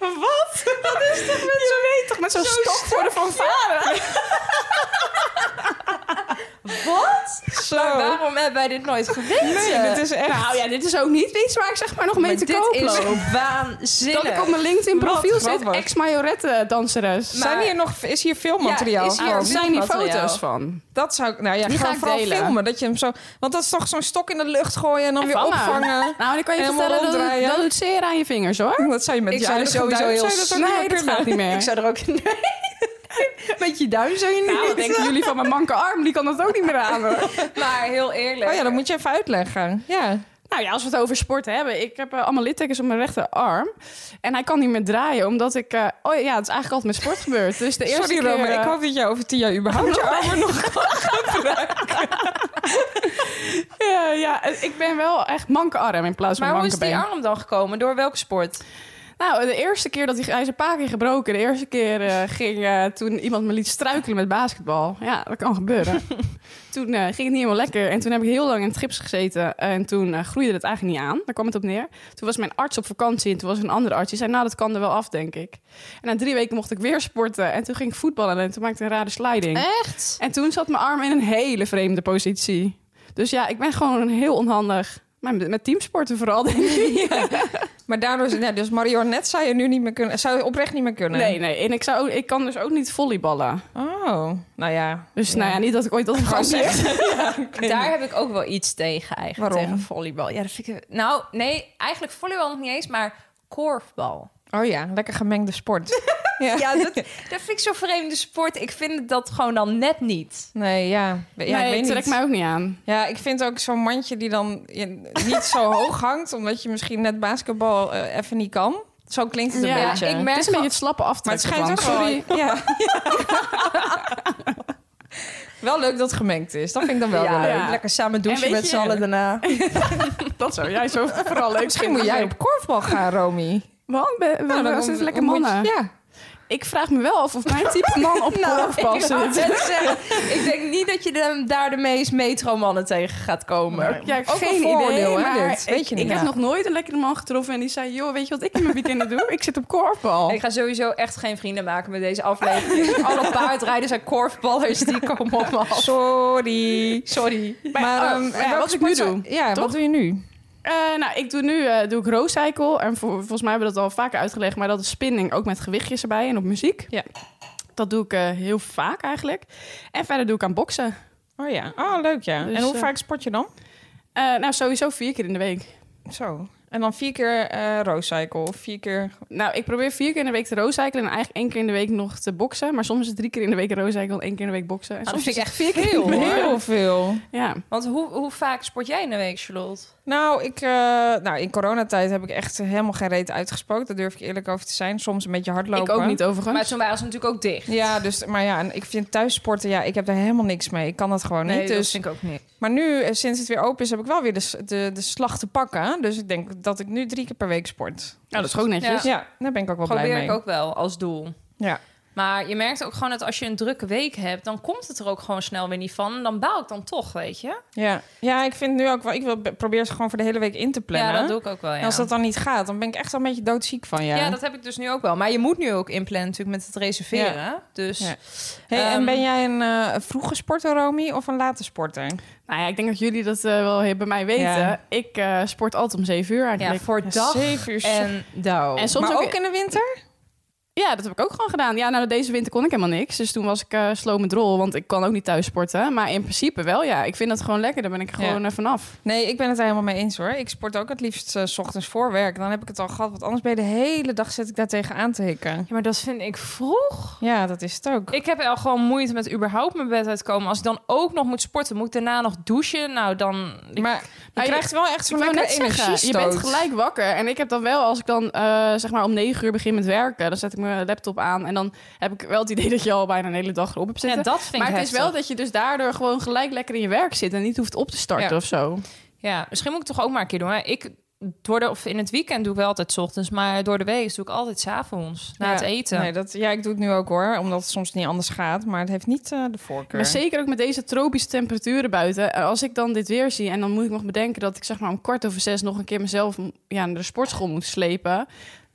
Speaker 2: Wat? Dat is toch met zo'n weet toch met zo'n stok voor de fanfare? (laughs)
Speaker 1: Wat?
Speaker 3: Zo.
Speaker 1: Waarom hebben wij dit nooit geweten?
Speaker 3: Nee, dit is echt...
Speaker 2: Nou ja, dit is ook niet iets waar ik zeg maar nog mee
Speaker 1: Maar
Speaker 2: te
Speaker 1: dit
Speaker 2: koop
Speaker 1: is
Speaker 2: loop.
Speaker 1: waanzinnig.
Speaker 2: Dat ik op mijn LinkedIn profiel
Speaker 3: Wat, wat,
Speaker 2: zit,
Speaker 3: wat?
Speaker 2: ex-majorette danseres.
Speaker 3: Zijn
Speaker 1: maar-
Speaker 3: hier nog, is hier filmmateriaal
Speaker 1: Ja, is hier-
Speaker 2: Er
Speaker 3: van?
Speaker 1: dit
Speaker 2: zijn hier
Speaker 1: materiaal.
Speaker 2: foto's van.
Speaker 3: Dat zou ik, nou ja,
Speaker 2: Die
Speaker 3: ga
Speaker 2: ga ik
Speaker 3: vooral
Speaker 2: delen.
Speaker 3: filmen. Dat je hem zo, want dat is toch zo'n stok in de lucht gooien en dan weer
Speaker 2: vangen.
Speaker 1: (laughs)
Speaker 3: opvangen.
Speaker 2: Nou, dan kan je
Speaker 3: Helemaal
Speaker 2: vertellen, dat,
Speaker 3: ronddraaien.
Speaker 2: doet- dat doet zeer aan je vingers hoor.
Speaker 3: Dat zou je met
Speaker 1: Ik
Speaker 3: je
Speaker 1: zou er
Speaker 3: huidige
Speaker 1: sowieso
Speaker 3: duim-
Speaker 1: heel
Speaker 3: zou je dat ook
Speaker 2: nee,
Speaker 3: niet meer
Speaker 2: dat
Speaker 3: kunnen?
Speaker 2: gaat niet meer.
Speaker 1: Ik zou er ook... Nee. (laughs) Met je duim zou je niet...
Speaker 2: Nou, wat denken jullie van mijn manke arm, die kan dat ook niet meer aan. hoor.
Speaker 1: Maar heel eerlijk.
Speaker 3: Oh ja, dat moet je even uitleggen. Ja.
Speaker 2: Nou ja, als we het over sport hebben. Ik heb eh, allemaal littekens op mijn rechterarm. En hij kan niet meer draaien, omdat ik... eh, oh ja, het is eigenlijk altijd met sport gebeurd. Dus de eerste
Speaker 3: Sorry
Speaker 2: keer...
Speaker 3: Rome,
Speaker 2: eh,
Speaker 3: ik hoop dat jij over tien jaar
Speaker 1: (laughs)
Speaker 3: überhaupt je armen nog kan gebruiken.
Speaker 2: ja, ja, eh, ik ben wel echt manke arm in plaats van
Speaker 1: maar hoe
Speaker 2: manke
Speaker 1: is die
Speaker 2: been.
Speaker 1: arm dan gekomen? Door welke sport?
Speaker 2: Nou, de eerste keer dat hij... Hij is een paar keer gebroken. De eerste keer eh, ging eh, toen iemand me liet struikelen met basketbal. Ja, dat kan gebeuren. toen eh, ging het niet helemaal lekker. En toen heb ik heel lang in het gips gezeten. En toen eh, groeide het eigenlijk niet aan. Daar kwam het op neer. Toen was mijn arts op vakantie. En toen was er een andere arts. Die zei, nou, dat kan er wel af, denk ik. En na drie weken mocht ik weer sporten. En toen ging ik voetballen. En toen maakte ik een rare sliding.
Speaker 1: Echt?
Speaker 2: En toen zat mijn arm in een hele vreemde positie. Dus ja, ik ben gewoon heel onhandig. Maar met met teamsporten vooral, denk ik.
Speaker 3: Maar daardoor, is- ja, dus marionet zou je nu niet meer kunnen, zou je oprecht niet meer kunnen.
Speaker 2: Nee, nee. En ik, zou, ook- ik kan dus ook niet volleyballen.
Speaker 3: Oh, nou ja.
Speaker 2: Dus nou ja, niet dat ik ooit dat gewoon
Speaker 3: Gewoon
Speaker 2: zeg.
Speaker 1: Daar heb ik ook wel iets tegen eigenlijk.
Speaker 3: Waarom?
Speaker 1: Tegen volleybal. Ja, dat vind ik... Nou, nee, eigenlijk volleybal nog niet eens, maar korfbal.
Speaker 3: Oh ja, lekker gemengde sport. ja.
Speaker 1: Ja, dat, dat vind ik zo'n vreemde sport. Ik vind dat gewoon dan net niet.
Speaker 3: Nee, ja. ja ik
Speaker 2: nee,
Speaker 3: weet
Speaker 2: trek
Speaker 3: niet.
Speaker 2: mij ook niet aan.
Speaker 3: Ja, ik vind ook zo'n mandje die dan ja, niet
Speaker 2: (laughs)
Speaker 3: zo hoog hangt, omdat je misschien net basketbal eh, even niet kan. Zo klinkt het een
Speaker 2: Ja,
Speaker 3: beetje.
Speaker 1: ik merk
Speaker 2: het is een beetje
Speaker 1: wel-
Speaker 2: het slappe
Speaker 3: maar het
Speaker 2: aftrekken.
Speaker 3: schijnt ook
Speaker 2: van.
Speaker 3: sorry. Ja.
Speaker 2: (laughs)
Speaker 3: wel leuk dat het gemengd is. Dat vind ik dan wel weer leuk.
Speaker 2: ja.
Speaker 1: lekker samen
Speaker 2: En
Speaker 1: douchen
Speaker 2: weet
Speaker 1: met
Speaker 2: je-
Speaker 1: z'n allen daarna.
Speaker 2: Dat zou jij (laughs) zo vooral leuk
Speaker 3: Misschien moet jij op korfbal gaan, Romy.
Speaker 2: Want we, we,
Speaker 3: Nou,
Speaker 2: we
Speaker 3: dan
Speaker 2: zitten
Speaker 3: moet-
Speaker 2: lekker
Speaker 3: moet je-
Speaker 2: mannen.
Speaker 3: ja.
Speaker 2: Ik vraag me wel af of mijn type man op korfbal
Speaker 1: ik, wou
Speaker 2: zit.
Speaker 1: net zeggen, ik denk niet dat je de- daar de meest metromannen tegen gaat komen.
Speaker 2: (laughs) Ja, ik
Speaker 1: Ook een voordeel, hè,
Speaker 2: maar
Speaker 1: dit. Weet
Speaker 2: ik,
Speaker 1: je niet.
Speaker 2: ik
Speaker 1: Ja.
Speaker 2: heb nog nooit een lekkere man getroffen en die zei... joh, weet je wat ik in mijn weekenden doe? Ik zit op
Speaker 3: Oh.
Speaker 2: korfbal.
Speaker 1: Ik ga sowieso echt geen vrienden maken met deze aflevering. Dus Alle paardrijders en korfballers die komen op me af.
Speaker 3: Sorry.
Speaker 1: Sorry.
Speaker 2: Maar,
Speaker 3: Maar
Speaker 2: oh,
Speaker 3: ehm,
Speaker 2: ja,
Speaker 3: welke
Speaker 2: wat ik nu
Speaker 3: sport-
Speaker 2: doe.
Speaker 3: Ja,
Speaker 2: toch?
Speaker 3: wat doe je nu?
Speaker 2: Eh, nou, ik doe nu eh, doe ik rowcycle. En vol- volgens mij hebben we dat al vaker uitgelegd. Maar dat is spinning, ook met gewichtjes erbij en op muziek.
Speaker 3: Ja.
Speaker 2: Dat doe ik eh, heel vaak eigenlijk. En verder doe ik aan boksen.
Speaker 3: Oh ja. Oh, leuk ja.
Speaker 2: Dus,
Speaker 3: en hoe
Speaker 2: eh,
Speaker 3: vaak sport je dan?
Speaker 2: Eh, nou, sowieso vier keer in de week.
Speaker 3: Zo. En dan vier keer eh rowcycle. of Vier keer...
Speaker 2: Nou, ik probeer vier keer in de week te rowcyclen... en eigenlijk één keer in de week nog te boksen. Maar soms is het drie keer in de week rowcyclen en één keer in de week boksen. En
Speaker 1: Ah, dat
Speaker 2: soms
Speaker 1: vind ik
Speaker 2: is
Speaker 1: echt veel heel
Speaker 2: Heel
Speaker 1: hoor.
Speaker 3: Heel veel.
Speaker 2: het- Ja.
Speaker 1: Want hoe, hoe vaak sport jij in de week, Charlotte?
Speaker 3: Nou, ik, eh, nou, in coronatijd heb ik echt helemaal geen reet uitgespookt. Daar durf ik eerlijk over te zijn. Soms een beetje hardlopen.
Speaker 2: Ik ook niet overigens.
Speaker 1: Maar toen waren ze natuurlijk ook dicht.
Speaker 3: Ja, dus, maar ja, en ik vind thuissporten, ja, ik heb daar helemaal niks mee. Ik kan dat gewoon
Speaker 1: Nee,
Speaker 3: niet.
Speaker 1: dat
Speaker 3: Dus,
Speaker 1: vind ik ook niet.
Speaker 3: Maar nu, eh, sinds het weer open is, heb ik wel weer de, s- de, de slag te pakken. Dus ik denk dat ik nu drie keer per week sport.
Speaker 2: Nou, dat is ook netjes.
Speaker 1: Ja.
Speaker 3: Dus ja, daar ben ik ook wel blij
Speaker 1: Probeer
Speaker 3: mee.
Speaker 1: ik ook wel als doel.
Speaker 3: Ja.
Speaker 1: Maar je merkt ook gewoon dat als je een drukke week hebt, dan komt het er ook gewoon snel weer niet van. Dan baal ik dan toch, weet je?
Speaker 3: Ja. ja, ik vind nu ook wel, ik wil be- probeer ze gewoon voor de hele week in te plannen.
Speaker 1: Ja, dat doe ik ook wel. Ja.
Speaker 3: En als dat dan niet gaat, dan ben ik echt al een beetje doodziek van je.
Speaker 1: ja. dat heb ik dus nu ook wel. Maar je moet nu ook inplannen natuurlijk met het reserveren. Dus
Speaker 3: Ja. hey, en
Speaker 1: Ehm,
Speaker 3: ben jij een eh, vroege sporter, Romy, of een late sporter?
Speaker 2: Nou ja, ik denk dat jullie dat eh, wel he- bij mij weten.
Speaker 3: Ja.
Speaker 2: Ik eh, sport altijd om zeven uur
Speaker 1: ja,
Speaker 2: eigenlijk.
Speaker 1: voor dag
Speaker 3: Zeven uur.
Speaker 1: en dauw.
Speaker 2: En soms
Speaker 3: maar ook,
Speaker 2: ook-
Speaker 3: in de winter?
Speaker 2: Ja, dat heb ik ook gewoon gedaan. Ja, nou, deze winter kon ik helemaal niks. Dus toen was ik eh slow met rol, want ik kan ook niet thuis sporten. Maar in principe wel, ja. Ik vind dat gewoon lekker. Daar ben ik gewoon eh, vanaf.
Speaker 3: Nee, ik ben het er helemaal mee eens hoor. Ik sport ook het liefst eh, 's ochtends voor werk. Dan heb ik het al gehad, want anders ben je de hele dag zit ik daar tegen aan te hikken.
Speaker 1: Ja, maar dat vind ik vroeg.
Speaker 3: Ja, dat is het ook.
Speaker 1: Ik heb al gewoon moeite met überhaupt mijn bed uitkomen. Als ik dan ook nog moet sporten, moet ik daarna nog douchen. Nou, dan... ik-
Speaker 3: maar je
Speaker 2: Maar Nou, je-
Speaker 3: krijgt wel echt zo'n
Speaker 2: Ik wou
Speaker 3: lekkere
Speaker 2: net zeggen,
Speaker 3: energie
Speaker 2: je bent gelijk wakker. En ik heb dan wel, als ik dan eh, zeg maar om negen uur begin met werken... dan zet ik mijn laptop aan en dan heb ik wel het idee (laughs) dat je al bijna een hele dag erop hebt
Speaker 1: ja,
Speaker 2: zitten.
Speaker 1: dat vind ik
Speaker 2: maar het is
Speaker 1: heftig.
Speaker 2: wel dat je dus daardoor gewoon gelijk lekker in je werk zit... en niet hoeft op te starten
Speaker 3: Ja.
Speaker 2: of zo.
Speaker 1: Ja, misschien moet ik het toch ook maar een keer doen. Hè? Ik, door de, of in het weekend doe ik wel altijd 's ochtends, maar door de week doe ik altijd 's avonds na
Speaker 3: Ja,
Speaker 1: het eten.
Speaker 3: Nee, dat, ja, ik doe het nu ook hoor, omdat het soms niet anders gaat. Maar het heeft niet eh, de voorkeur.
Speaker 2: Maar zeker ook met deze tropische temperaturen buiten. Eh, Als ik dan dit weer zie en dan moet ik nog bedenken dat ik zeg maar om kwart over zes nog een keer mezelf m- ja, naar de sportschool moet slepen.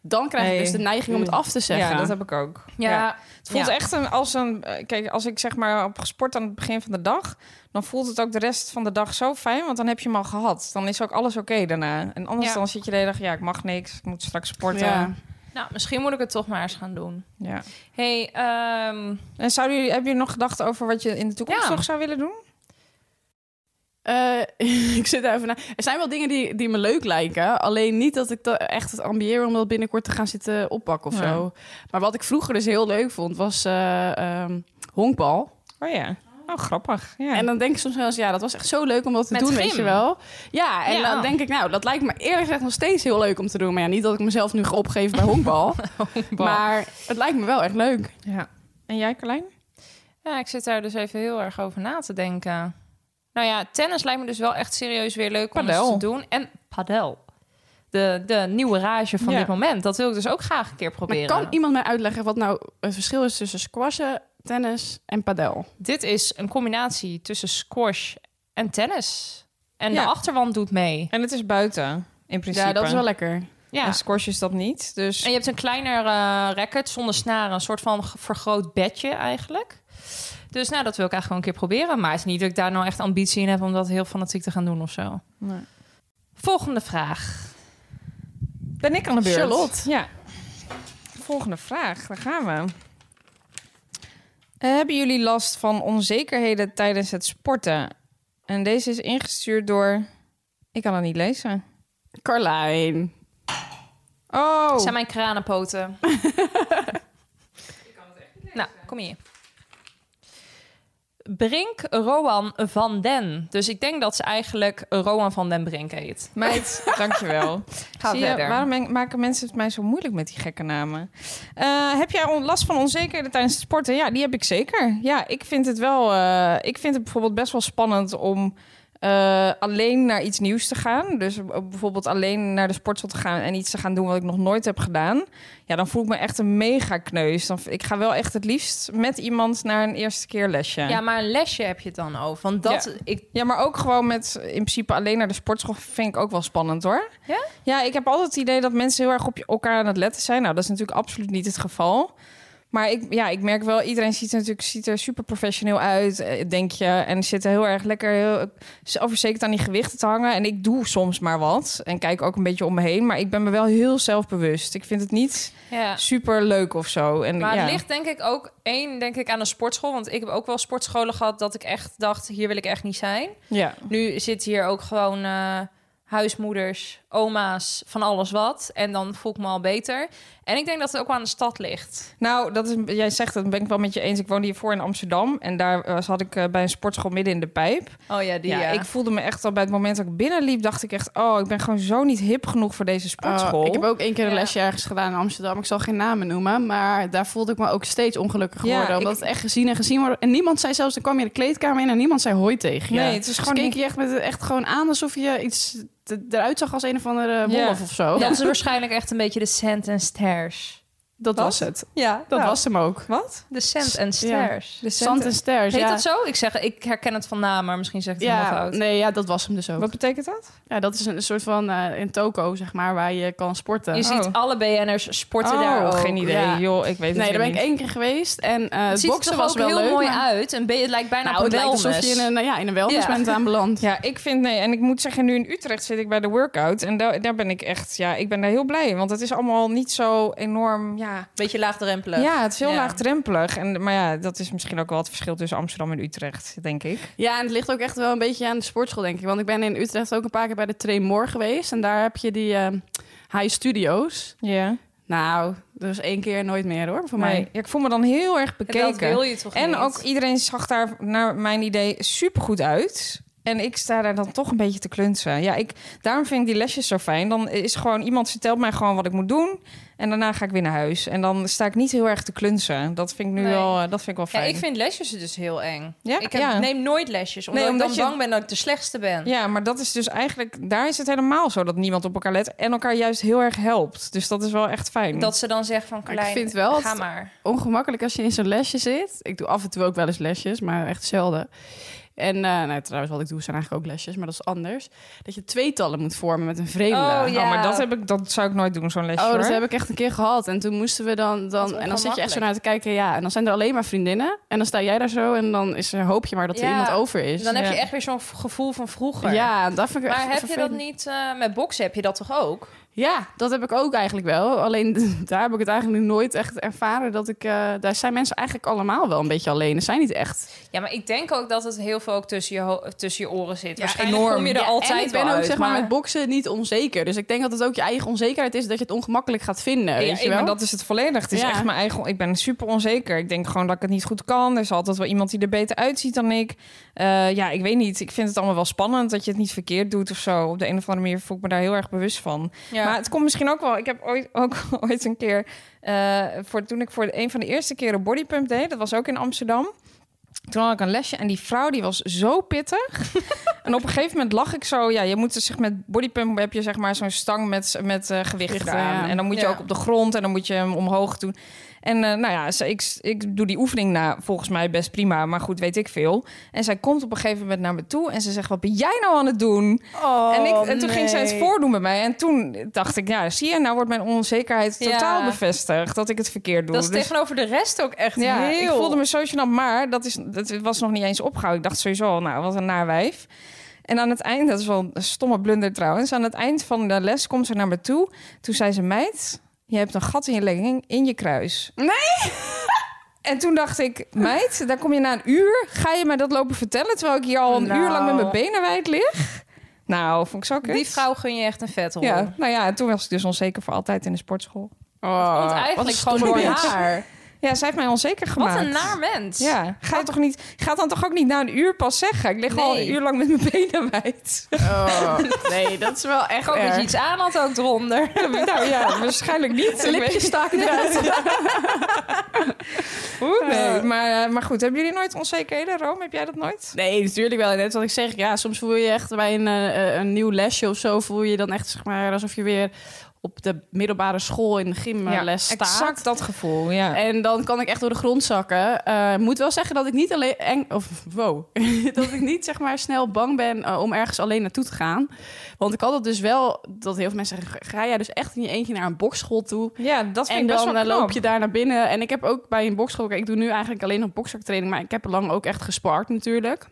Speaker 2: Dan krijg
Speaker 3: Nee.
Speaker 2: ik dus de neiging om het af te zeggen.
Speaker 3: Ja, dat heb ik ook.
Speaker 1: ja,
Speaker 3: Het voelt
Speaker 1: Ja.
Speaker 3: echt een, als een... eh, Kijk, als ik zeg maar op gesport aan het begin van de dag... dan voelt het ook de rest van de dag zo fijn, want dan heb je hem al gehad. Dan is ook alles oké daarna. En anders
Speaker 1: Ja.
Speaker 3: dan zit je de hele dag... ja, ik mag niks, ik moet straks sporten.
Speaker 2: Ja.
Speaker 3: Ja.
Speaker 1: nou, misschien moet ik het toch maar eens gaan doen. Hey, ehm,
Speaker 3: En zouden jullie, hebben jullie nog gedacht over wat je in de toekomst
Speaker 1: Ja.
Speaker 3: nog zou willen doen?
Speaker 2: Eh, (laughs) ik zit daar even na. Er zijn wel dingen die, die me leuk lijken. Alleen niet dat ik dat echt het ambieer om dat binnenkort te gaan zitten oppakken of
Speaker 3: Ja.
Speaker 2: zo. Maar wat ik vroeger dus heel leuk vond, was eh ehm, honkbal.
Speaker 3: Oh ja. Oh, grappig. Ja.
Speaker 2: En dan denk ik soms wel eens, ja, dat was echt zo leuk om dat te
Speaker 1: Met
Speaker 2: doen,
Speaker 1: gym.
Speaker 2: weet je wel. Ja, en
Speaker 1: Ja.
Speaker 2: dan denk ik, nou, dat lijkt me eerlijk gezegd nog steeds heel leuk om te doen. Maar ja, niet dat ik mezelf nu ga opgeven bij honkbal. maar het lijkt me wel echt leuk.
Speaker 3: ja. en jij, Carlijn?
Speaker 1: ja, ik zit daar dus even heel erg over na te denken. Nou ja, tennis lijkt me dus wel echt serieus weer leuk om
Speaker 3: Padel.
Speaker 1: eens te doen. En padel. De, de nieuwe rage van
Speaker 3: Ja.
Speaker 1: dit moment. Dat wil ik dus ook graag een keer
Speaker 2: Maar
Speaker 1: proberen.
Speaker 2: kan iemand mij uitleggen wat nou het verschil is tussen squashen, tennis en padel?
Speaker 1: Dit is een combinatie tussen squash en tennis. En
Speaker 3: Ja.
Speaker 1: de achterwand doet mee.
Speaker 3: En het is buiten, in principe.
Speaker 2: Ja, dat is wel lekker.
Speaker 1: Ja.
Speaker 3: En squash is dat niet. Dus
Speaker 1: En je hebt een kleiner eh, racket zonder snaren. Een soort van ge- vergroot bedje eigenlijk. Dus nou, dat wil ik eigenlijk gewoon een keer proberen. Maar het is niet dat ik daar nou echt ambitie in heb om dat heel fanatiek te gaan doen of zo.
Speaker 3: Nee.
Speaker 1: Volgende vraag.
Speaker 3: ben ik aan de beurt.
Speaker 2: Charlotte.
Speaker 3: Ja. Volgende vraag, daar gaan we. Eh, hebben jullie last van onzekerheden tijdens het sporten? En deze is ingestuurd door... Ik kan het niet lezen.
Speaker 2: Carlijn.
Speaker 3: Oh,
Speaker 1: Het zijn mijn kranenpoten. nou, kom hier. Brink Roan van Den. Dus ik denk dat ze eigenlijk Roan van Den Brink heet.
Speaker 3: meid, dankjewel.
Speaker 1: Ga
Speaker 3: Zie je,
Speaker 1: verder.
Speaker 3: waarom men- maken mensen het mij zo moeilijk met die gekke namen? Eh, heb jij on- last van onzekerheden tijdens het sporten? Ja, die heb ik zeker. Ja, ik vind het wel. eh, ik vind het bijvoorbeeld best wel spannend om. eh, eh, alleen naar iets nieuws te gaan. Dus eh, bijvoorbeeld alleen naar de sportschool te gaan en iets te gaan doen wat ik nog nooit heb gedaan. Ja, dan voel ik me echt een mega kneus. Dan, v- ik ga wel echt het liefst met iemand naar een eerste keer lesje.
Speaker 1: Ja, maar een lesje heb je het dan over. Want dat, ik,
Speaker 3: Ja, maar ook gewoon met in principe alleen naar de sportschool vind ik ook wel spannend hoor.
Speaker 1: Ja?
Speaker 3: Ja, ik heb altijd het idee dat mensen heel erg op je- elkaar aan het letten zijn. Nou, dat is natuurlijk absoluut niet het geval. Maar ik, ja, ik merk wel, iedereen ziet er natuurlijk ziet er super professioneel uit, eh, denk je. En zit er heel erg lekker heel zelfverzekerd aan die gewichten te hangen. En ik doe soms maar wat. En kijk ook een beetje om me heen. Maar ik ben me wel heel zelfbewust. Ik vind het niet
Speaker 1: ja.
Speaker 3: super leuk of zo. En,
Speaker 1: Maar
Speaker 3: ja.
Speaker 1: het ligt denk ik ook één denk ik aan een sportschool. Want ik heb ook wel sportscholen gehad dat ik echt dacht, hier wil ik echt niet zijn.
Speaker 3: Ja.
Speaker 1: Nu zitten hier ook gewoon eh, huismoeders, oma's, van alles wat. En dan voel ik me al beter. En ik denk dat het ook wel aan de stad ligt.
Speaker 3: Nou, dat is, jij zegt dat ben ik wel met je eens. Ik woonde hiervoor in Amsterdam en daar eh, zat ik eh, bij een sportschool midden in de pijp.
Speaker 1: Oh ja, die
Speaker 3: ja, ik voelde me echt al bij het moment dat ik binnenliep, dacht ik echt, oh, ik ben gewoon zo niet hip genoeg voor deze sportschool.
Speaker 2: Oh, ik heb ook één keer een
Speaker 1: Ja.
Speaker 2: lesje ergens gedaan in Amsterdam. Ik zal geen namen noemen, maar daar voelde ik me ook steeds ongelukkig
Speaker 3: Ja,
Speaker 2: worden. omdat
Speaker 3: ik-
Speaker 2: het echt gezien en gezien wordt. En niemand zei zelfs, dan kwam je de kleedkamer in en niemand zei hoi tegen je.
Speaker 3: Nee, het is
Speaker 2: Dus
Speaker 3: gewoon
Speaker 2: keek
Speaker 3: niet-
Speaker 2: je echt, met, echt gewoon aan alsof je iets te- eruit zag als een of andere
Speaker 3: Ja.
Speaker 2: wolf of zo.
Speaker 1: (laughs) Dat is waarschijnlijk echt een beetje de cent en stairs.
Speaker 2: Dat was het.
Speaker 1: Ja,
Speaker 2: Dat was hem ook.
Speaker 3: Wat?
Speaker 1: de cent en stairs.
Speaker 2: stairs.
Speaker 1: Ja.
Speaker 2: De Zand en Stairs,
Speaker 1: Heet
Speaker 2: ja.
Speaker 1: dat zo? Ik zeg, ik herken het van naam, maar misschien zegt het ja,
Speaker 2: Ja,
Speaker 1: fout.
Speaker 2: nee, ja, dat was hem dus ook.
Speaker 3: Wat betekent dat?
Speaker 2: Ja, dat is een, een soort van eh een toko, zeg maar, waar je kan sporten.
Speaker 1: Je ziet alle BN'ers sporten daar ook.
Speaker 3: Oh. geen idee.
Speaker 2: Ja.
Speaker 3: Joh, ik weet het
Speaker 2: nee, daar ben ik
Speaker 3: niet.
Speaker 2: één keer geweest. En eh
Speaker 1: dus Het
Speaker 2: het
Speaker 1: ziet er
Speaker 2: boksen
Speaker 1: toch
Speaker 2: was
Speaker 1: ook
Speaker 2: wel
Speaker 1: heel
Speaker 2: leuk.
Speaker 1: mooi
Speaker 2: maar-
Speaker 1: uit. En het lijkt bijna
Speaker 2: Nou,
Speaker 1: op
Speaker 2: het
Speaker 1: een
Speaker 2: lijkt alsof
Speaker 1: wellness.
Speaker 2: je in een, nou ja, in een wellness
Speaker 1: (laughs) Ja.
Speaker 2: bent aanbeland.
Speaker 3: Ja, ik vind nee. En ik moet zeggen, nu in Utrecht zit ik bij de workout. En daar daar ben ik echt, ja, ik ben daar heel blij. Want het is allemaal niet zo enorm, ja,
Speaker 1: Beetje laagdrempelig.
Speaker 3: Ja, het is heel
Speaker 1: Ja.
Speaker 3: laagdrempelig. En, maar ja, dat is misschien ook wel het verschil tussen Amsterdam en Utrecht, denk ik.
Speaker 2: Ja, en het ligt ook echt wel een beetje aan de sportschool, denk ik. Want ik ben in Utrecht ook een paar keer bij de Tremor geweest. En daar heb je die eh, high studios.
Speaker 3: Ja.
Speaker 2: Nou, dus één keer nooit meer hoor, voor
Speaker 3: Maar
Speaker 2: mij.
Speaker 3: ja, ik voel me dan heel erg
Speaker 1: Dat
Speaker 3: bekeken.
Speaker 1: wil je toch
Speaker 3: en
Speaker 1: niet?
Speaker 3: ook iedereen zag daar naar mijn idee supergoed uit. En ik sta daar dan toch een beetje te klunsen. Ja, ik, daarom vind ik die lesjes zo fijn. Dan is gewoon iemand vertelt mij gewoon wat ik moet doen. En daarna ga ik weer naar huis. En dan sta ik niet heel erg te klunsen. Dat vind ik nu
Speaker 1: Nee.
Speaker 3: wel, eh, dat vind ik wel
Speaker 1: Ja,
Speaker 3: fijn.
Speaker 1: ik vind lesjes dus heel eng.
Speaker 3: Ja?
Speaker 1: ik heb,
Speaker 3: Ja.
Speaker 1: neem nooit lesjes, omdat,
Speaker 3: Nee,
Speaker 1: ik
Speaker 3: omdat
Speaker 1: dan
Speaker 3: je-
Speaker 1: bang ben dat ik de slechtste ben.
Speaker 3: Ja, maar dat is dus eigenlijk, daar is het helemaal zo dat niemand op elkaar let. En elkaar juist heel erg helpt. Dus dat is wel echt fijn.
Speaker 1: Dat ze dan zeggen van,
Speaker 2: Maar ik
Speaker 1: Klein,
Speaker 2: vind wel
Speaker 1: ga
Speaker 2: dat-
Speaker 1: maar.
Speaker 2: Ongemakkelijk als je in zo'n lesje zit. Ik doe af en toe ook wel eens lesjes, maar echt zelden. En eh, nou, trouwens, wat ik doe zijn eigenlijk ook lesjes, maar dat is anders. Dat je tweetallen moet vormen met een vreemde.
Speaker 1: Oh, ja.
Speaker 3: Oh, maar dat, heb ik, dat zou ik nooit doen, zo'n lesje.
Speaker 2: Oh, dat
Speaker 3: hoor.
Speaker 2: heb ik echt een keer gehad. En toen moesten we dan...
Speaker 1: Dat is
Speaker 2: dan en dan zit je echt zo
Speaker 1: ongemakkelijk.
Speaker 2: naar te kijken, ja. En dan zijn er alleen maar vriendinnen. En dan sta jij daar zo en dan is er, hoop je maar dat er
Speaker 1: Ja.
Speaker 2: iemand over is.
Speaker 1: Dan heb je
Speaker 3: ja.
Speaker 1: echt weer zo'n v- gevoel van vroeger.
Speaker 2: Dus Ja, dat vind ik
Speaker 1: Maar
Speaker 2: echt
Speaker 1: heb je dat
Speaker 2: vervelend.
Speaker 1: niet, eh, met boksen heb je dat toch ook?
Speaker 2: Ja, dat heb ik ook eigenlijk wel. Alleen (laughs) daar heb ik het eigenlijk nooit echt ervaren. Dat ik, eh, daar zijn mensen eigenlijk allemaal wel een beetje alleen. Ze zijn niet echt.
Speaker 1: Ja, maar ik denk ook dat het heel veel ook tussen je, ho- tussen je oren zit. Waarschijnlijk
Speaker 3: enorm.
Speaker 1: kom je er
Speaker 3: Ja,
Speaker 1: altijd
Speaker 2: en ik ben
Speaker 1: wel
Speaker 2: ook
Speaker 1: uit,
Speaker 2: zeg maar,
Speaker 1: maar-
Speaker 2: met boksen niet onzeker. Dus ik denk dat het ook je eigen onzekerheid is dat je het ongemakkelijk gaat vinden.
Speaker 3: Ja,
Speaker 2: weet je
Speaker 3: ik-
Speaker 2: wel?
Speaker 3: maar dat is het volledig. Het is
Speaker 2: Ja.
Speaker 3: echt mijn eigen. Ik ben super onzeker. Ik denk gewoon dat ik het niet goed kan. Er is altijd wel iemand die er beter uitziet dan ik. Eh, ja, ik weet niet. Ik vind het allemaal wel spannend dat je het niet verkeerd doet of zo. Op de een of andere manier voel ik me daar heel erg bewust van.
Speaker 1: Ja.
Speaker 3: Maar het komt misschien ook wel. Ik heb ooit, (laughs) ook ooit een keer. eh, voor, toen ik voor een van de eerste keren bodypump deed, dat was ook in Amsterdam. Toen had ik een lesje en die vrouw die was zo pittig.
Speaker 1: (laughs)
Speaker 3: en op een gegeven moment lag ik zo. Ja, je moet dus, zeg met bodypump heb je zeg maar zo'n stang met, met eh, gewicht
Speaker 2: Gewicht,
Speaker 3: eraan.
Speaker 2: ja.
Speaker 3: En dan moet je
Speaker 1: Ja.
Speaker 3: ook op de grond en dan moet je hem omhoog doen. En eh, nou ja, ze- ik, ik doe die oefening na volgens mij best prima, maar goed, weet ik veel. En zij komt op een gegeven moment naar me toe en ze zegt: Wat ben jij nou aan het doen? en, ik, en toen ging zij het
Speaker 1: Oh, nee.
Speaker 3: voordoen bij mij. En toen dacht ik: Ja, zie je, nou wordt mijn onzekerheid
Speaker 1: Ja.
Speaker 3: totaal bevestigd dat ik het verkeerd doe.
Speaker 1: dat is
Speaker 3: Dus-
Speaker 1: tegenover de rest ook echt
Speaker 3: ja,
Speaker 1: heel...
Speaker 3: ik voelde me zo gênant, maar dat, is, dat was nog niet eens opgehouden. Ik dacht sowieso al, nou, wat een naar wijf. En aan het eind, dat is wel een stomme blunder trouwens... aan het eind van de les komt ze naar me toe. Toen zei ze, meid, je hebt een gat in je legging, in je kruis. Nee! (laughs) En toen dacht ik, meid, daar kom je na een uur... ga je mij dat lopen vertellen... terwijl ik hier al een
Speaker 1: Nou.
Speaker 3: uur lang met mijn benen wijd lig? Nou, vond ik zo kut.
Speaker 1: Die vrouw gun je echt een vet hoor.
Speaker 3: Ja, nou ja, en toen was ik dus onzeker voor altijd in de sportschool.
Speaker 2: Oh,
Speaker 1: Want
Speaker 2: wat een
Speaker 1: eigenlijk gewoon
Speaker 2: stomme
Speaker 1: door
Speaker 2: mens.
Speaker 1: haar.
Speaker 3: Ja, zij heeft mij onzeker gemaakt.
Speaker 1: Wat een naar mens.
Speaker 3: Ja, ga, je toch niet, ga dan toch ook niet na een uur pas zeggen. Ik lig al
Speaker 1: Nee.
Speaker 3: een uur lang met mijn benen
Speaker 2: (laughs)
Speaker 3: wijd.
Speaker 2: Oh, nee, dat is wel
Speaker 1: Ik
Speaker 2: echt
Speaker 1: hoop dat je
Speaker 2: erg.
Speaker 1: iets aan had ook eronder.
Speaker 3: (laughs) nou ja, waarschijnlijk niet.
Speaker 2: De lipjes staken eruit.
Speaker 3: Oeh, nee. Maar, eh, maar goed, hebben jullie nooit onzekerheden, Rome? Heb jij dat nooit?
Speaker 2: (laughs) Nee, natuurlijk wel. En Net wat ik zeg, ja, soms voel je echt bij een, eh, eh, een nieuw lesje of zo... voel je dan echt zeg maar, alsof je weer op de middelbare school in de gymles staat.
Speaker 3: exact dat gevoel, ja.
Speaker 2: En dan kan ik echt door de grond zakken. Eh, moet wel zeggen dat ik niet alleen eng, of wow, (laughs) dat ik niet zeg maar snel bang ben eh, om ergens alleen naartoe te gaan. Want ik had het dus wel dat heel veel mensen zeggen: ga jij dus echt in je eentje naar een bokschool toe?
Speaker 3: Ja, dat vind
Speaker 2: en
Speaker 3: ik best
Speaker 2: dan
Speaker 3: wel
Speaker 2: eh,
Speaker 3: knap.
Speaker 2: loop je daar naar binnen. En ik heb ook bij een bokschool... Kijk, ik doe nu eigenlijk alleen nog bokszaktraining... maar ik heb lang ook echt gespart natuurlijk.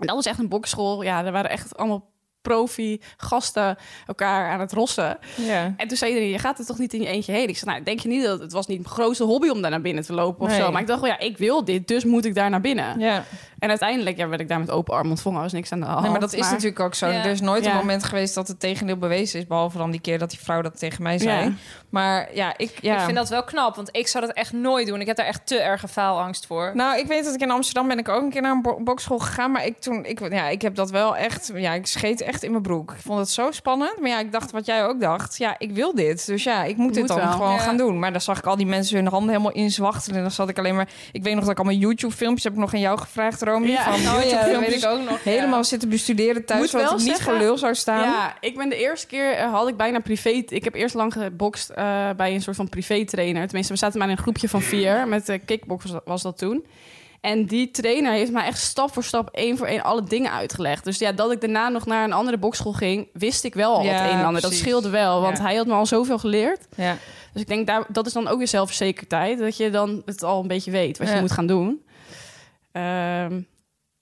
Speaker 2: En dat was echt een bokschool. Ja, er waren echt allemaal profi gasten elkaar aan het rossen.
Speaker 3: Ja.
Speaker 2: En toen zei iedereen, je gaat er toch niet in je eentje heen? Ik zei, nou, denk je niet dat... Het was niet mijn grootste hobby om daar naar binnen te lopen of
Speaker 3: Nee.
Speaker 2: zo. Maar ik dacht, wel, ja, ik wil dit, dus moet ik daar naar binnen.
Speaker 3: ja.
Speaker 2: En uiteindelijk ja, werd ik daar met open arm ontvangen. Er was niks aan de hand.
Speaker 3: Nee, maar dat is natuurlijk ook zo.
Speaker 1: Ja.
Speaker 3: Er is nooit
Speaker 2: Ja.
Speaker 3: een moment geweest dat het tegendeel bewezen is. Behalve dan die keer dat die vrouw dat tegen mij zei.
Speaker 2: Ja.
Speaker 3: Maar ja, ik... Ja.
Speaker 1: Ik vind dat wel knap, want ik zou dat echt nooit doen. Ik heb daar echt te erge faalangst voor.
Speaker 3: Nou, ik weet dat ik in Amsterdam ben ik ook een keer naar een bo- bokschool gegaan. Maar ik toen, ik, ja, ik heb dat wel echt. Ja, ik scheet echt in mijn broek. Ik vond het zo spannend. Maar ja, ik dacht wat jij ook dacht. Ja, ik wil dit. Dus ja, ik moet dit
Speaker 2: Moet
Speaker 3: dan
Speaker 2: wel.
Speaker 3: gewoon
Speaker 1: Ja.
Speaker 3: gaan doen. Maar dan zag ik al die mensen hun handen helemaal inzwachtelen. En dan zat ik alleen maar. Ik weet nog dat ik allemaal YouTube filmpjes heb ik nog aan jou gevraagd, Romy.
Speaker 2: Ja.
Speaker 3: Van
Speaker 2: Oh ja,
Speaker 3: YouTube
Speaker 1: dat
Speaker 3: filmpjes.
Speaker 1: weet ik ook nog. ja.
Speaker 3: Helemaal zitten bestuderen thuis,
Speaker 2: Moet
Speaker 3: zodat
Speaker 2: wel
Speaker 3: ik niet
Speaker 2: zeggen-
Speaker 3: voor lul zou staan.
Speaker 2: Ja, ik ben de eerste keer eh, had ik bijna privé. Ik heb eerst lang gebokst eh, bij een soort van privé trainer. Tenminste, we zaten maar in een groepje van vier. Met eh kickbox was, was dat toen. En die trainer heeft mij echt stap voor stap, één voor één, alle dingen uitgelegd. Dus ja, dat ik daarna nog naar een andere bokschool ging, wist ik wel al
Speaker 3: Ja,
Speaker 2: het een en ander. Dat
Speaker 3: precies.
Speaker 2: scheelde wel, want
Speaker 3: Ja.
Speaker 2: hij had me al zoveel geleerd.
Speaker 3: Ja.
Speaker 2: Dus ik denk, daar, dat is dan ook weer zelfverzekerdheid. Dat je dan het al een beetje weet wat
Speaker 3: Ja.
Speaker 2: je moet gaan doen. Ehm,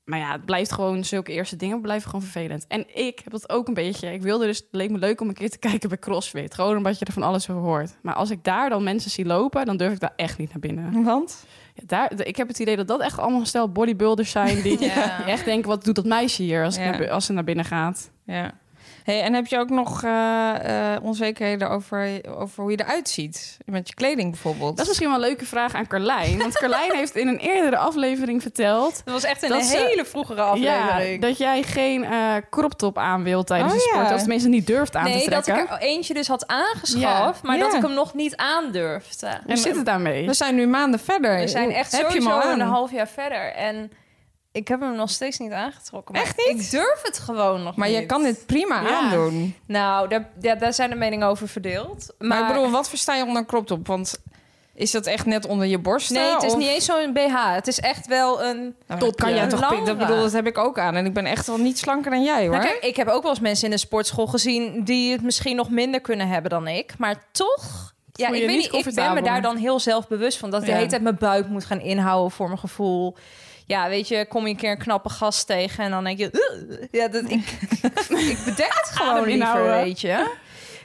Speaker 2: maar ja, het blijft gewoon zulke eerste dingen blijven gewoon vervelend. En ik heb dat ook een beetje. Ik wilde dus, het leek me leuk om een keer te (laughs) kijken bij CrossFit. Gewoon omdat je er van alles over hoort. Maar als ik daar dan mensen zie lopen, dan durf ik daar echt niet naar binnen.
Speaker 3: Want?
Speaker 2: Ja, daar, de- ik heb het idee dat dat echt allemaal een stel bodybuilders zijn... die
Speaker 1: Ja.
Speaker 2: echt denken, wat doet dat meisje hier als, ik
Speaker 3: Ja.
Speaker 2: naar bu- als ze naar binnen gaat?
Speaker 3: Ja. Hey, en heb je ook nog eh, eh, onzekerheden over, over hoe je eruit ziet? Met je kleding bijvoorbeeld?
Speaker 2: Dat is misschien wel een leuke vraag aan Carlijn. Want Carlijn heeft in een eerdere aflevering verteld...
Speaker 1: Dat was echt een
Speaker 2: Dat ze-
Speaker 1: hele vroegere aflevering.
Speaker 2: Ja, dat jij geen eh crop top aan wilt tijdens
Speaker 3: Oh,
Speaker 2: de sport.
Speaker 3: ja.
Speaker 2: Of tenminste niet durft aan
Speaker 1: nee,
Speaker 2: te
Speaker 1: dat ik
Speaker 2: trekken.
Speaker 1: er eentje dus had aangeschaft,
Speaker 2: Ja.
Speaker 1: maar dat
Speaker 3: Ja.
Speaker 1: ik hem nog niet aandurfde.
Speaker 2: Hoe zit het daarmee? Nou,
Speaker 3: We zijn nu maanden verder.
Speaker 1: We zijn echt
Speaker 3: Heb je hem
Speaker 1: sowieso
Speaker 3: al aan?
Speaker 1: een half jaar verder en ik heb hem nog steeds niet aangetrokken. Maar
Speaker 3: Echt niet?
Speaker 1: Ik durf het gewoon nog
Speaker 3: Maar
Speaker 1: niet.
Speaker 3: je kan dit prima
Speaker 2: Ja.
Speaker 3: aandoen.
Speaker 1: Nou, daar, ja, daar zijn de meningen over verdeeld. Maar,
Speaker 3: Maar, ik bedoel, wat versta je onder crop top? Want is dat echt net onder je borst?
Speaker 1: nee, het is niet eens zo'n BH. Het is echt wel een...
Speaker 3: top. Nou, Kan jij
Speaker 1: ja.
Speaker 3: toch pik- Dat
Speaker 1: Laura.
Speaker 3: bedoel, dat heb ik ook aan. En ik ben echt wel niet slanker dan jij, hoor.
Speaker 1: Nou, kijk, ik heb ook wel eens mensen in de sportschool gezien die het misschien nog minder kunnen hebben dan ik. Maar toch, ja,
Speaker 2: Voel je
Speaker 1: ik,
Speaker 2: niet
Speaker 1: weet niet, ik ben me
Speaker 2: comfortabel.
Speaker 1: daar dan heel zelfbewust van. Dat ik
Speaker 3: Ja.
Speaker 1: de hele tijd mijn buik moet gaan inhouden voor mijn gevoel. Ja, weet je, kom je een keer een knappe gast tegen en dan denk je... "Ugh." ja, dat, ik,
Speaker 2: (laughs)
Speaker 1: ik bedek het gewoon
Speaker 2: Adem
Speaker 1: liever,
Speaker 2: inhouden.
Speaker 1: weet je.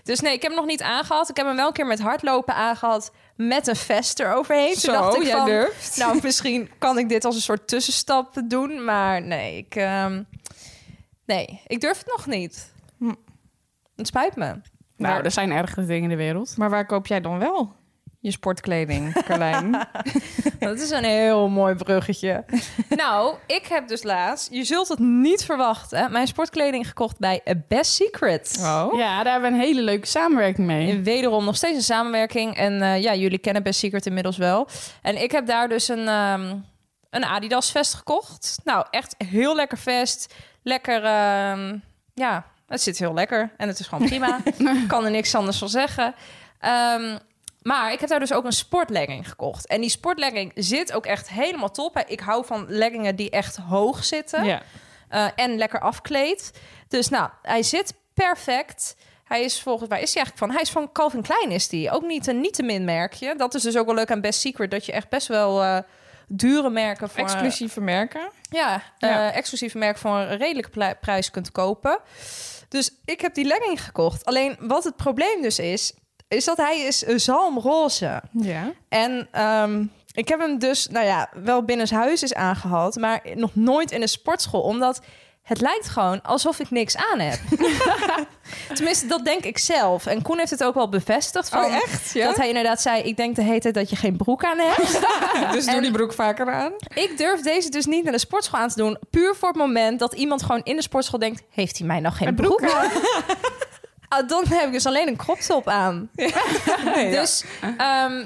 Speaker 1: Dus nee, ik heb hem nog niet aangehad. Ik heb hem wel een keer met hardlopen aangehad met een vest eroverheen.
Speaker 3: Zo,
Speaker 1: Toen dacht ik
Speaker 3: jij
Speaker 1: van,
Speaker 3: durft.
Speaker 1: nou, misschien kan ik dit als een soort tussenstap doen, maar nee, ik, ehm, nee, ik durf het nog niet.
Speaker 3: Hm.
Speaker 1: Het spijt me.
Speaker 2: Nou, er zijn ergere dingen in de wereld.
Speaker 3: Maar waar koop jij dan wel je sportkleding,
Speaker 1: (laughs)
Speaker 3: Carlijn?
Speaker 1: Dat is een heel mooi
Speaker 3: (laughs)
Speaker 1: bruggetje. nou, ik heb dus laatst, je zult het niet verwachten, mijn sportkleding gekocht bij Best Secret.
Speaker 3: oh.
Speaker 2: Ja, daar hebben we een hele leuke samenwerking mee.
Speaker 1: En wederom nog steeds een samenwerking. En eh, ja, jullie kennen Best Secret inmiddels wel. En ik heb daar dus een, ehm, een Adidas vest gekocht. Nou, echt heel lekker vest. Lekker, ehm, ja, het zit heel lekker. En het is gewoon prima. kan er niks anders van zeggen. Ehm, maar ik heb daar dus ook een sportlegging gekocht. En die sportlegging zit ook echt helemaal top. Ik hou van leggingen die echt hoog zitten.
Speaker 3: Ja.
Speaker 1: Eh, en lekker afkleed. Dus nou, hij zit perfect. Hij is volgens mij, is hij eigenlijk van? Hij is van Calvin Klein, is die. Ook niet een niet te min merkje. Dat is dus ook wel leuk aan Best Secret. Dat je echt best wel eh, dure merken voor
Speaker 3: Exclusieve merken.
Speaker 1: ja,
Speaker 3: Ja.
Speaker 1: eh, exclusieve merk voor een redelijke plei- prijs kunt kopen. Dus ik heb die legging gekocht. Alleen wat het probleem dus is, is dat hij is zalmroze.
Speaker 3: Ja.
Speaker 1: En ehm, ik heb hem dus, nou ja, wel binnenshuis is aangehad, maar nog nooit in een sportschool. Omdat Het lijkt gewoon alsof ik niks aan
Speaker 3: (laughs)
Speaker 1: heb. Tenminste, dat denk ik zelf. En Koen heeft het ook wel bevestigd. Van,
Speaker 3: Oh, echt? Ja?
Speaker 1: Dat hij inderdaad zei, ik denk de hele tijd dat je geen broek aan
Speaker 3: (laughs)
Speaker 1: hebt.
Speaker 3: dus doe
Speaker 1: en-
Speaker 3: die broek vaker aan.
Speaker 1: ik durf deze dus niet naar de sportschool aan te doen. Puur voor het moment dat iemand gewoon in de sportschool denkt... heeft hij mij nog geen broek, aan? (laughs) Ah, dan heb ik dus alleen een crop top aan.
Speaker 2: Oh,
Speaker 1: Dus ehm,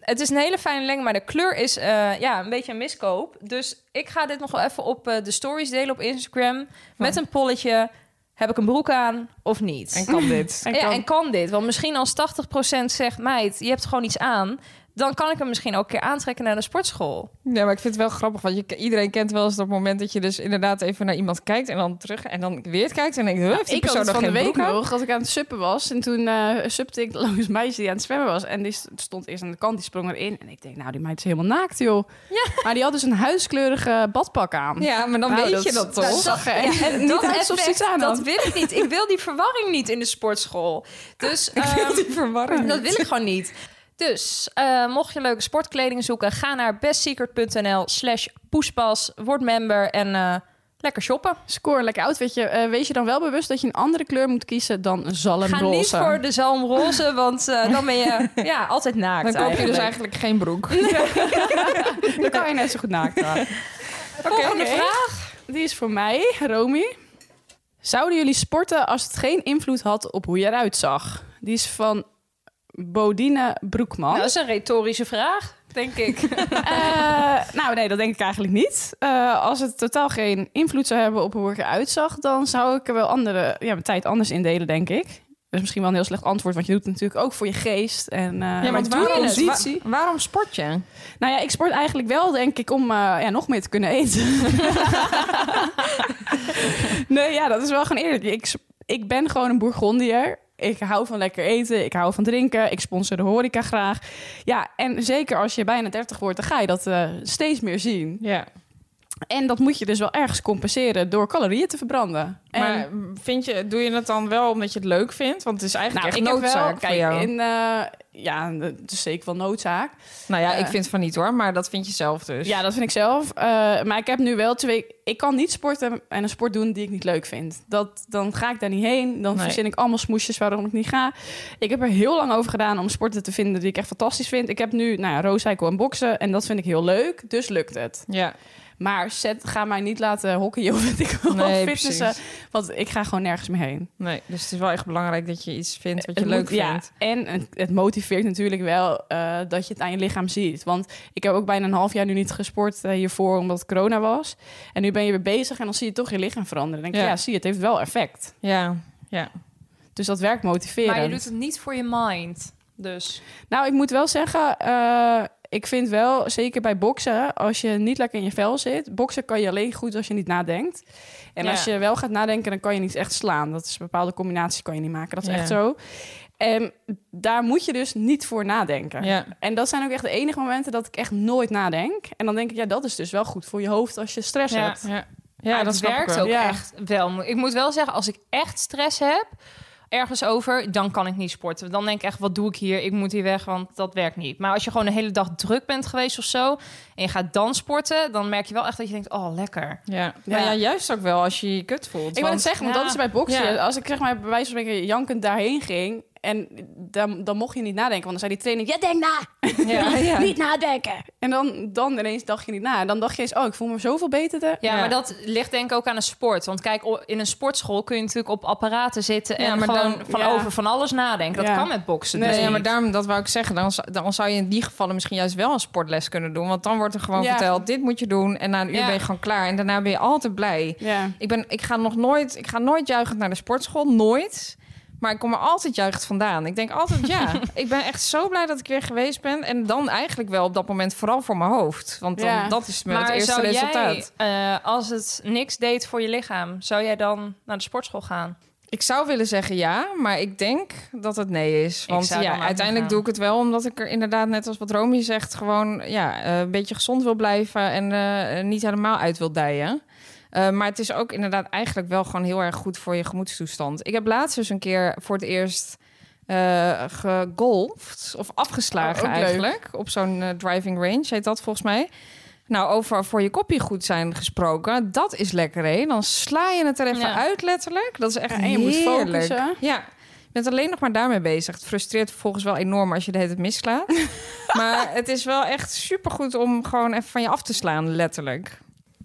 Speaker 1: het is een hele fijne lengte, maar de kleur is eh, ja, een beetje een miskoop. Dus ik ga dit nog wel even op eh, de stories delen op Instagram. Met een polletje. Heb ik een broek aan of niet?
Speaker 3: En kan (laughs) dit.
Speaker 1: ja, en kan dit? Want misschien als 80% zegt... meid, je hebt gewoon iets aan... dan kan ik hem misschien ook een keer aantrekken naar de sportschool.
Speaker 3: Ja, maar ik vind het wel grappig, want je, iedereen kent wel eens dat moment dat je dus inderdaad even naar iemand kijkt en dan terug en dan weer kijkt en denkt, huh, heeft die
Speaker 2: ik had
Speaker 3: persoon
Speaker 2: het
Speaker 3: nog
Speaker 2: van de
Speaker 3: geen
Speaker 2: week
Speaker 3: broek aan?
Speaker 2: nog, dat ik aan het suppen was. En toen eh supte ik (laughs) langs een meisje die aan het zwemmen was. En die st- stond eerst aan de kant, die sprong erin. En ik denk, nou, die meid is helemaal naakt, joh. Maar die had dus een huiskleurige badpak aan.
Speaker 3: Ja, maar dan
Speaker 2: Nou,
Speaker 3: weet
Speaker 2: dat-
Speaker 3: je dat toch? (laughs)
Speaker 2: dat zag je.
Speaker 1: Ja, en
Speaker 2: Niet
Speaker 1: dat
Speaker 2: uit, alsof ze
Speaker 1: effect,
Speaker 2: iets aan
Speaker 1: dat
Speaker 2: had.
Speaker 1: wil ik niet. Ik wil die verwarring niet in de sportschool.
Speaker 2: (laughs)
Speaker 1: Dus ehm,
Speaker 3: Die verwarring.
Speaker 1: dat wil ik gewoon niet. Dus eh, mocht je leuke sportkleding zoeken, ga naar bestsecret.nl slash poespas, word member en eh, lekker shoppen.
Speaker 2: Score, lekker outfitje. Eh, wees je dan wel bewust dat je een andere kleur moet kiezen dan een
Speaker 1: Ga
Speaker 2: zalmroze.
Speaker 1: niet voor de zalmroze, want eh, dan ben je ja, altijd naakt.
Speaker 3: Dan koop je dus
Speaker 1: eigenlijk.
Speaker 3: eigenlijk geen (laughs) broek.
Speaker 2: Dan kan je net zo goed (laughs) naakt gaan.
Speaker 1: Volgende
Speaker 2: Oké.
Speaker 1: vraag.
Speaker 2: Die is voor mij, Romy. Zouden jullie sporten als het geen invloed had op hoe je eruit zag? Die is van Bodine Broekman.
Speaker 1: Nou, dat
Speaker 2: (laughs)
Speaker 1: is een retorische vraag, denk ik.
Speaker 2: Eh, nou, nee, dat denk ik eigenlijk niet. Eh, als het totaal geen invloed zou hebben op hoe ik eruit zag, dan zou ik er wel andere, ja, mijn tijd anders indelen, denk ik. Dat is misschien wel een heel slecht antwoord, want je doet het natuurlijk ook voor je geest. En, eh,
Speaker 3: Ja, maar
Speaker 2: want
Speaker 3: waarom,
Speaker 2: doe je het?
Speaker 3: wa- waarom sport je?
Speaker 2: Nou ja, ik sport eigenlijk wel, denk ik, om eh, ja, nog meer te kunnen
Speaker 3: (laughs)
Speaker 2: eten. nee, ja, dat is wel gewoon eerlijk. Ik, s- ik ben gewoon een Bourgondier. Ik hou van lekker eten, ik hou van drinken, ik sponsor de horeca graag. Ja, en zeker als je bijna 30 wordt, dan ga je dat eh, steeds meer zien.
Speaker 3: Ja.
Speaker 2: En dat moet je dus wel ergens compenseren door calorieën te verbranden. En-
Speaker 3: Maar vind je, doe je het dan wel omdat je het leuk vindt? Want het is eigenlijk echt
Speaker 2: nou, heb
Speaker 3: noodzaak voor
Speaker 2: kijk,
Speaker 3: jou.
Speaker 2: in, eh, ja, het is zeker wel noodzaak.
Speaker 3: Nou ja, ik
Speaker 2: eh,
Speaker 3: vind van niet hoor, maar dat vind je zelf dus.
Speaker 2: Ja, dat vind ik zelf. Eh, maar ik heb nu wel twee. Ik kan niet sporten en een sport doen die ik niet leuk vind. Dat, dan ga ik daar niet heen. Dan
Speaker 3: Nee.
Speaker 2: verzin ik allemaal smoesjes waarom ik niet ga. Ik heb er heel lang over gedaan om sporten te vinden die ik echt fantastisch vind. Ik heb nu, nou ja, rooscycle en boksen. En dat vind ik heel leuk. Dus lukt het.
Speaker 3: Ja.
Speaker 2: Maar zet, ga mij niet laten hockeyen (laughs) of weet ik wel,
Speaker 3: Nee,
Speaker 2: fitnessen. Want ik ga gewoon nergens meer heen.
Speaker 3: Nee, dus het is wel echt belangrijk dat je iets vindt wat je
Speaker 2: Het
Speaker 3: leuk
Speaker 2: moet- ja,
Speaker 3: vindt.
Speaker 2: en het, het motiveert natuurlijk wel eh, dat je het aan je lichaam ziet. Want ik heb ook bijna een half jaar nu niet gesport eh, hiervoor, omdat het corona was. En nu ben je weer bezig en dan zie je toch je lichaam veranderen. Dan denk je,
Speaker 3: Ja.
Speaker 2: ja, zie je, het heeft wel effect.
Speaker 3: Ja. ja.
Speaker 2: Dus dat werkt motiverend.
Speaker 1: Maar je doet het niet voor je mind, dus...
Speaker 2: Nou, ik moet wel zeggen, eh, ik vind wel, zeker bij boksen, als je niet lekker in je vel zit. Boksen kan je alleen goed als je niet nadenkt. En
Speaker 3: Ja.
Speaker 2: als je wel gaat nadenken, dan kan je niet echt slaan. Dat is een bepaalde combinatie kan je niet maken. Dat is
Speaker 3: Ja.
Speaker 2: echt zo. En daar moet je dus niet voor nadenken.
Speaker 3: Ja.
Speaker 2: En dat zijn ook echt de enige momenten dat ik echt nooit nadenk. En dan denk ik, ja, dat is dus wel goed voor je hoofd als je stress
Speaker 3: Ja,
Speaker 2: hebt.
Speaker 3: ja.
Speaker 1: Ja,
Speaker 3: ja dat
Speaker 1: het
Speaker 3: snap ik
Speaker 1: werkt
Speaker 3: wel.
Speaker 1: ook
Speaker 2: Ja.
Speaker 1: echt wel. Ik moet wel zeggen, als ik echt stress heb ergens over, dan kan ik niet sporten. Dan denk ik echt, wat doe ik hier? Ik moet hier weg, want dat werkt niet. Maar als je gewoon een hele dag druk bent geweest of zo... en je gaat dan sporten, dan merk je wel echt dat je denkt... oh, lekker.
Speaker 3: Ja. Maar ja, juist ook wel als je je kut voelt.
Speaker 2: Ik wil het zeggen, want
Speaker 1: ja.
Speaker 2: dat is bij boksen.
Speaker 3: Ja.
Speaker 2: Als ik zeg maar bij wijze van spreken jankend daarheen ging... en dan, dan mocht je niet nadenken, want dan zei die trainer... ja, denk na!
Speaker 3: want, ja, (laughs) ja.
Speaker 2: (laughs) Niet nadenken. En dan, dan ineens dacht je niet na. En dan dacht je eens, oh, ik voel me zoveel beter. De...
Speaker 1: Ja,
Speaker 3: Ja.
Speaker 1: maar dat ligt denk ik ook aan de sport. Want kijk, o- in een sportschool kun je natuurlijk op apparaten zitten... en
Speaker 3: Ja, maar
Speaker 1: gewoon
Speaker 3: dan-
Speaker 1: van
Speaker 2: ja.
Speaker 1: over van alles nadenken. Dat
Speaker 2: Ja.
Speaker 1: kan met boksen
Speaker 2: Nee,
Speaker 1: dus
Speaker 3: Nee, ja,
Speaker 1: niet.
Speaker 3: maar daarom, dat wou ik zeggen. Dan, zou- dan zou je in die gevallen misschien juist wel een sportles kunnen doen. Want dan wordt er gewoon
Speaker 2: Ja.
Speaker 3: verteld, dit moet je doen. En na een uur
Speaker 1: Ja.
Speaker 3: ben je gewoon klaar. En daarna ben je altijd blij.
Speaker 2: Ja.
Speaker 3: Ik, ben, ik ga nog nooit, ik ga nooit juichend naar de sportschool. Nooit. Maar ik kom er altijd juichend vandaan. Ik denk altijd, ja, ik ben echt zo blij dat ik weer geweest ben. En dan eigenlijk wel op dat moment vooral voor mijn hoofd. Want dan,
Speaker 2: Ja.
Speaker 3: dat is met
Speaker 1: Maar
Speaker 3: het eerste
Speaker 1: zou
Speaker 3: resultaat.
Speaker 1: jij, eh, als het niks deed voor je lichaam... zou jij dan naar de sportschool gaan?
Speaker 3: Ik zou willen zeggen ja, maar ik denk dat het nee is. Want
Speaker 1: zou dan
Speaker 3: ja,
Speaker 1: ook
Speaker 3: uiteindelijk
Speaker 1: gaan.
Speaker 3: doe ik het wel omdat ik er inderdaad, net als wat Romy zegt, gewoon ja, eh, een beetje gezond wil blijven en eh, niet helemaal uit wil dijen. Eh, maar het is ook inderdaad eigenlijk wel gewoon heel erg goed voor je gemoedstoestand. Ik heb laatst dus een keer voor het eerst eh gegolfd of afgeslagen
Speaker 2: Oh, ook leuk.
Speaker 3: eigenlijk op zo'n eh, driving range heet dat volgens mij. Nou, over voor je koppie goed zijn gesproken. Dat is lekker, hè? Dan sla je het er even
Speaker 1: Ja.
Speaker 3: uit, letterlijk. Dat is echt
Speaker 2: Ja, en je moet
Speaker 3: heerlijk.
Speaker 2: focussen.
Speaker 3: Ja. Je bent alleen nog maar daarmee bezig. Het frustreert vervolgens wel enorm als je de hele tijd (laughs) mislaat. maar het is wel echt supergoed om gewoon even van je af te slaan, (laughs) letterlijk.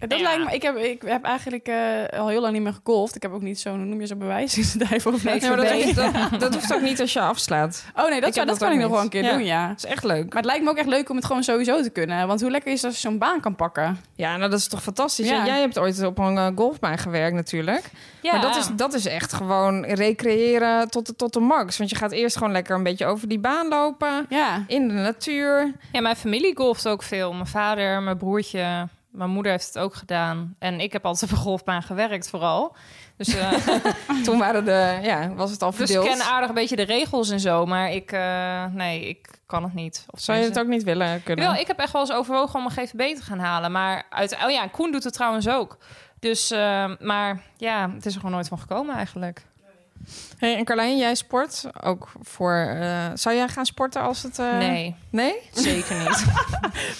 Speaker 2: Dat lijkt me, ik heb, ik heb eigenlijk eh, al heel lang niet meer gegolfd. Ik heb ook niet zo'n, hoe noem je zo'n bewijs (laughs) in de duivel of nee,
Speaker 3: Nee, maar dat, hoeft, dat, dat hoeft ook niet als je afslaat.
Speaker 2: Oh nee, dat, zou,
Speaker 3: Ik heb
Speaker 2: dat
Speaker 3: dat
Speaker 2: kan
Speaker 3: ook
Speaker 2: ik nog wel een
Speaker 3: niet.
Speaker 2: keer
Speaker 3: Ja.
Speaker 2: doen, ja.
Speaker 3: Dat is echt leuk.
Speaker 2: Maar het lijkt me ook echt leuk om het gewoon sowieso te kunnen. Want hoe lekker is het als je zo'n baan kan pakken?
Speaker 3: Ja, nou, dat is toch fantastisch.
Speaker 2: Ja.
Speaker 3: En jij hebt ooit op een eh, golfbaan gewerkt natuurlijk.
Speaker 1: Ja,
Speaker 3: Maar dat is, dat is echt gewoon recreëren tot de, tot de max. Want je gaat eerst gewoon lekker een beetje over die baan lopen.
Speaker 2: Ja.
Speaker 3: In de (laughs) natuur.
Speaker 1: ja, mijn familie golft ook veel. Mijn vader, mijn broertje, mijn moeder heeft het ook gedaan. En ik heb altijd op een golfbaan gewerkt vooral. Dus,
Speaker 3: (laughs)
Speaker 1: eh, (laughs)
Speaker 3: Toen waren de, ja, was het al
Speaker 1: dus
Speaker 3: verdeeld.
Speaker 1: ik ken aardig een beetje de regels en zo. Maar ik, eh, nee, ik kan het niet. Of
Speaker 3: Zou je het ook niet willen kunnen?
Speaker 1: Jawel, ik heb echt wel eens overwogen om een GVB te gaan halen. Maar uit, oh ja, Koen doet het trouwens ook. Dus, eh, maar ja, het is er gewoon nooit van gekomen eigenlijk.
Speaker 3: Hey, en Carlijn, jij sport ook voor... eh, zou jij gaan sporten als het... eh,
Speaker 1: nee,
Speaker 3: Nee?
Speaker 1: zeker
Speaker 3: (laughs)
Speaker 1: niet.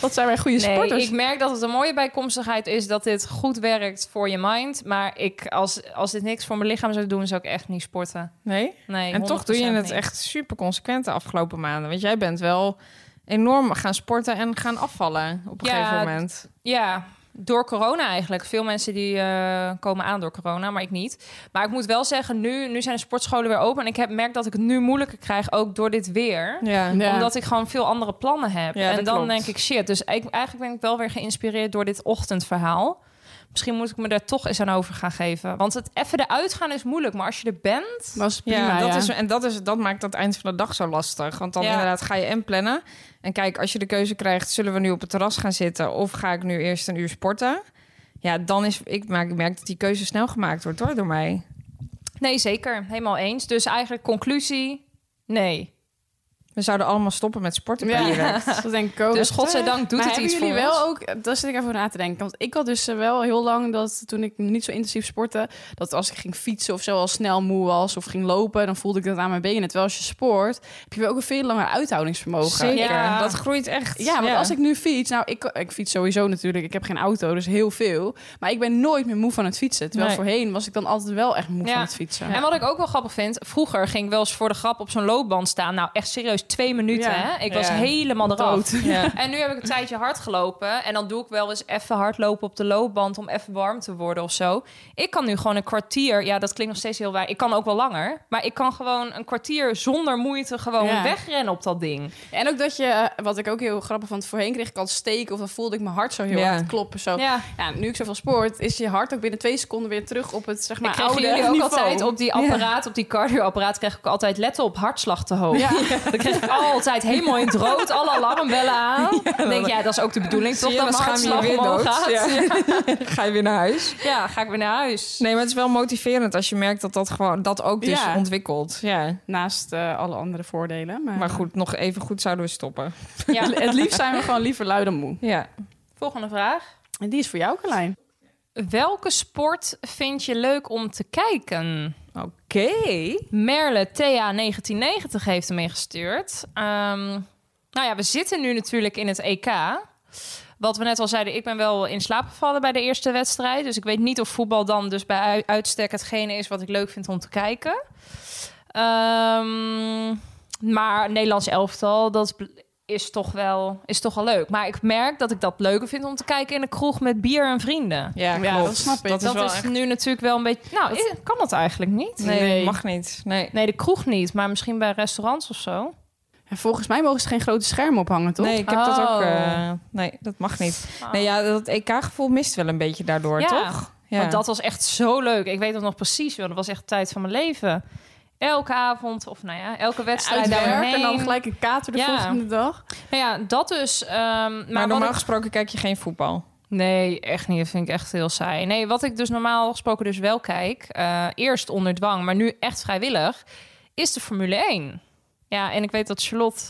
Speaker 2: Wat zijn wij goede
Speaker 1: nee,
Speaker 2: sporters?
Speaker 1: ik merk dat het een mooie bijkomstigheid is dat dit goed werkt voor je mind. Maar ik, als, als dit niks voor mijn lichaam zou doen, zou ik echt niet sporten.
Speaker 3: Nee?
Speaker 1: Nee,
Speaker 3: En toch doe je
Speaker 1: 100%
Speaker 3: het
Speaker 1: niet.
Speaker 3: echt super consequent de afgelopen maanden. Want jij bent wel enorm gaan sporten en gaan afvallen op een
Speaker 1: Ja,
Speaker 3: gegeven moment.
Speaker 1: Ja, door corona eigenlijk. Veel mensen die eh, komen aan door corona, maar ik niet. Maar ik moet wel zeggen, nu, nu zijn de sportscholen weer open. En ik heb merk dat ik het nu moeilijker krijg, ook door dit weer.
Speaker 3: Ja.
Speaker 2: Ja.
Speaker 1: Omdat ik gewoon veel andere plannen heb.
Speaker 3: Ja,
Speaker 1: en
Speaker 3: dat
Speaker 1: dan
Speaker 3: klopt.
Speaker 1: denk ik shit. Dus ik, eigenlijk ben ik wel weer geïnspireerd door dit ochtendverhaal. Misschien moet ik me daar toch eens aan over gaan geven. Want het even eruit gaan is moeilijk. Maar als je er bent.
Speaker 2: Dat is prima,
Speaker 3: Ja, dat
Speaker 2: ja.
Speaker 3: Is, en dat, is, dat maakt dat eind van de dag zo lastig. Want dan
Speaker 1: Ja.
Speaker 3: inderdaad ga je en plannen. En kijk, als je de keuze krijgt, zullen we nu op het terras gaan zitten... of ga ik nu eerst een uur sporten? Ja, dan is... Ik, maak, ik merk dat die keuze snel gemaakt wordt hoor, door mij.
Speaker 1: Nee, zeker. Helemaal eens. Dus eigenlijk conclusie: nee.
Speaker 3: We zouden allemaal stoppen met sporten. per
Speaker 2: (laughs)
Speaker 3: direct.
Speaker 2: Ja, dat denk ik ook.
Speaker 1: Dus godzijdank doet
Speaker 2: maar
Speaker 1: het
Speaker 2: hebben
Speaker 1: iets voor
Speaker 2: jullie
Speaker 1: ons.
Speaker 2: wel ook, daar zit ik even over na te denken. Want ik had dus eh, wel heel lang dat toen ik niet zo intensief sportte, dat als ik ging fietsen of zo al snel moe was of ging lopen, dan voelde ik dat aan mijn benen. Terwijl als je sport, heb je wel ook een veel langer uithoudingsvermogen.
Speaker 3: Zeker.
Speaker 1: Ja.
Speaker 3: Dat groeit echt.
Speaker 2: Ja, want als ik nu fiets, nou ik, ik fiets sowieso natuurlijk, ik heb geen auto, dus heel veel. Maar ik ben nooit meer moe van het fietsen. Terwijl
Speaker 3: Nee.
Speaker 2: voorheen was ik dan altijd wel echt moe
Speaker 1: Ja.
Speaker 2: van het fietsen.
Speaker 1: En wat ik ook wel grappig vind, vroeger ging ik wel eens voor de grap op zo'n loopband staan. Nou, echt serieus, twee minuten.
Speaker 2: Ja.
Speaker 1: Hè? Ik was
Speaker 3: Ja.
Speaker 1: helemaal
Speaker 2: Dood.
Speaker 1: eraf.
Speaker 2: (laughs)
Speaker 1: En nu heb ik een tijdje hard gelopen. En dan doe ik wel eens even hardlopen op de loopband om even warm te worden of zo. Ik kan nu gewoon een kwartier. Ja, dat klinkt nog steeds heel waar. Ik kan ook wel langer. Maar ik kan gewoon een kwartier zonder moeite gewoon
Speaker 2: Ja.
Speaker 1: wegrennen op dat ding.
Speaker 2: En ook dat je, eh, wat ik ook heel grappig vond, voorheen kreeg ik al steken of dan voelde ik mijn hart zo heel
Speaker 3: Ja.
Speaker 2: hard kloppen. Zo.
Speaker 1: Ja.
Speaker 2: Ja, nu ik zoveel sport, is je hart ook binnen twee seconden weer terug op het zeg maar
Speaker 1: Maar kregen
Speaker 2: oude
Speaker 1: jullie ook
Speaker 2: niveau.
Speaker 1: altijd op die apparaat, op die cardioapparaat, kreeg ik altijd letten op hartslag te hoog.
Speaker 2: Ja.
Speaker 1: Dan kreeg ik altijd helemaal in het rood, alle alarmbellen aan. Dan denk je, ja, dat is ook de bedoeling, toch?
Speaker 3: Zie je,
Speaker 1: Dat
Speaker 3: dan
Speaker 1: mijn hartslag
Speaker 3: schaam je je weer
Speaker 1: omhoog
Speaker 3: dood.
Speaker 1: gaat.
Speaker 3: Ja.
Speaker 1: Ja.
Speaker 3: ga je weer naar huis.
Speaker 1: ga ik weer naar huis.
Speaker 3: Nee, maar het is wel motiverend als je merkt dat dat, gewoon, dat ook dus
Speaker 2: Ja.
Speaker 3: ontwikkelt. Ja.
Speaker 2: (laughs) Naast eh, alle andere voordelen. Maar,
Speaker 3: Maar goed, nog even goed zouden we stoppen.
Speaker 1: Ja.
Speaker 2: het liefst zijn we gewoon liever lui dan moe.
Speaker 3: Ja.
Speaker 1: Volgende vraag.
Speaker 2: En die is voor jou, Carlijn.
Speaker 1: Welke sport vind je leuk om te kijken?
Speaker 3: Oké.
Speaker 1: Merle Thea1990 heeft hem ingestuurd. Ehm nou ja, we zitten nu natuurlijk in het EK. Wat we net al zeiden, ik ben wel in slaap gevallen bij de eerste wedstrijd. Dus ik weet niet of voetbal dan dus bij ui- uitstek hetgene is wat ik leuk vind om te kijken. Ehm, maar Nederlands elftal, dat bl- is toch wel is toch wel leuk. Maar ik merk dat ik dat leuker vind om te kijken in de kroeg met bier en vrienden.
Speaker 3: Ja,
Speaker 2: Ja,
Speaker 3: klopt.
Speaker 2: dat snap ik.
Speaker 3: Dat,
Speaker 1: Dat
Speaker 3: is wel
Speaker 1: is,
Speaker 3: echt...
Speaker 1: nu natuurlijk wel een beetje... Nou, i- kan dat eigenlijk niet?
Speaker 3: Nee,
Speaker 2: Nee.
Speaker 3: mag niet. Nee.
Speaker 1: Nee, de kroeg niet, maar misschien bij restaurants of zo.
Speaker 2: En volgens mij mogen ze geen grote schermen ophangen, toch?
Speaker 3: Nee, ik heb dat
Speaker 1: Oh.
Speaker 3: ook. eh, nee, dat mag niet.
Speaker 1: Oh.
Speaker 3: Nee, ja, dat EK-gevoel mist wel een beetje daardoor,
Speaker 1: Ja,
Speaker 3: toch? Ja,
Speaker 1: Want dat was echt zo leuk. Ik weet dat nog precies. joh. Dat was echt de tijd van mijn leven. Elke avond, of nou ja, elke wedstrijd
Speaker 2: Uit werk
Speaker 1: daarheen.
Speaker 2: en dan gelijk een kater de
Speaker 1: Ja.
Speaker 2: volgende dag.
Speaker 1: Nou ja, dat dus. ehm, maar
Speaker 3: maar
Speaker 1: wat
Speaker 3: normaal
Speaker 1: ik-
Speaker 3: gesproken kijk je geen voetbal.
Speaker 1: Nee, echt niet. Dat vind ik echt heel saai. Nee, wat ik dus normaal gesproken dus wel kijk... eh, eerst onder dwang, maar nu echt vrijwillig... is de Formule 1. Ja, en ik weet dat Charlotte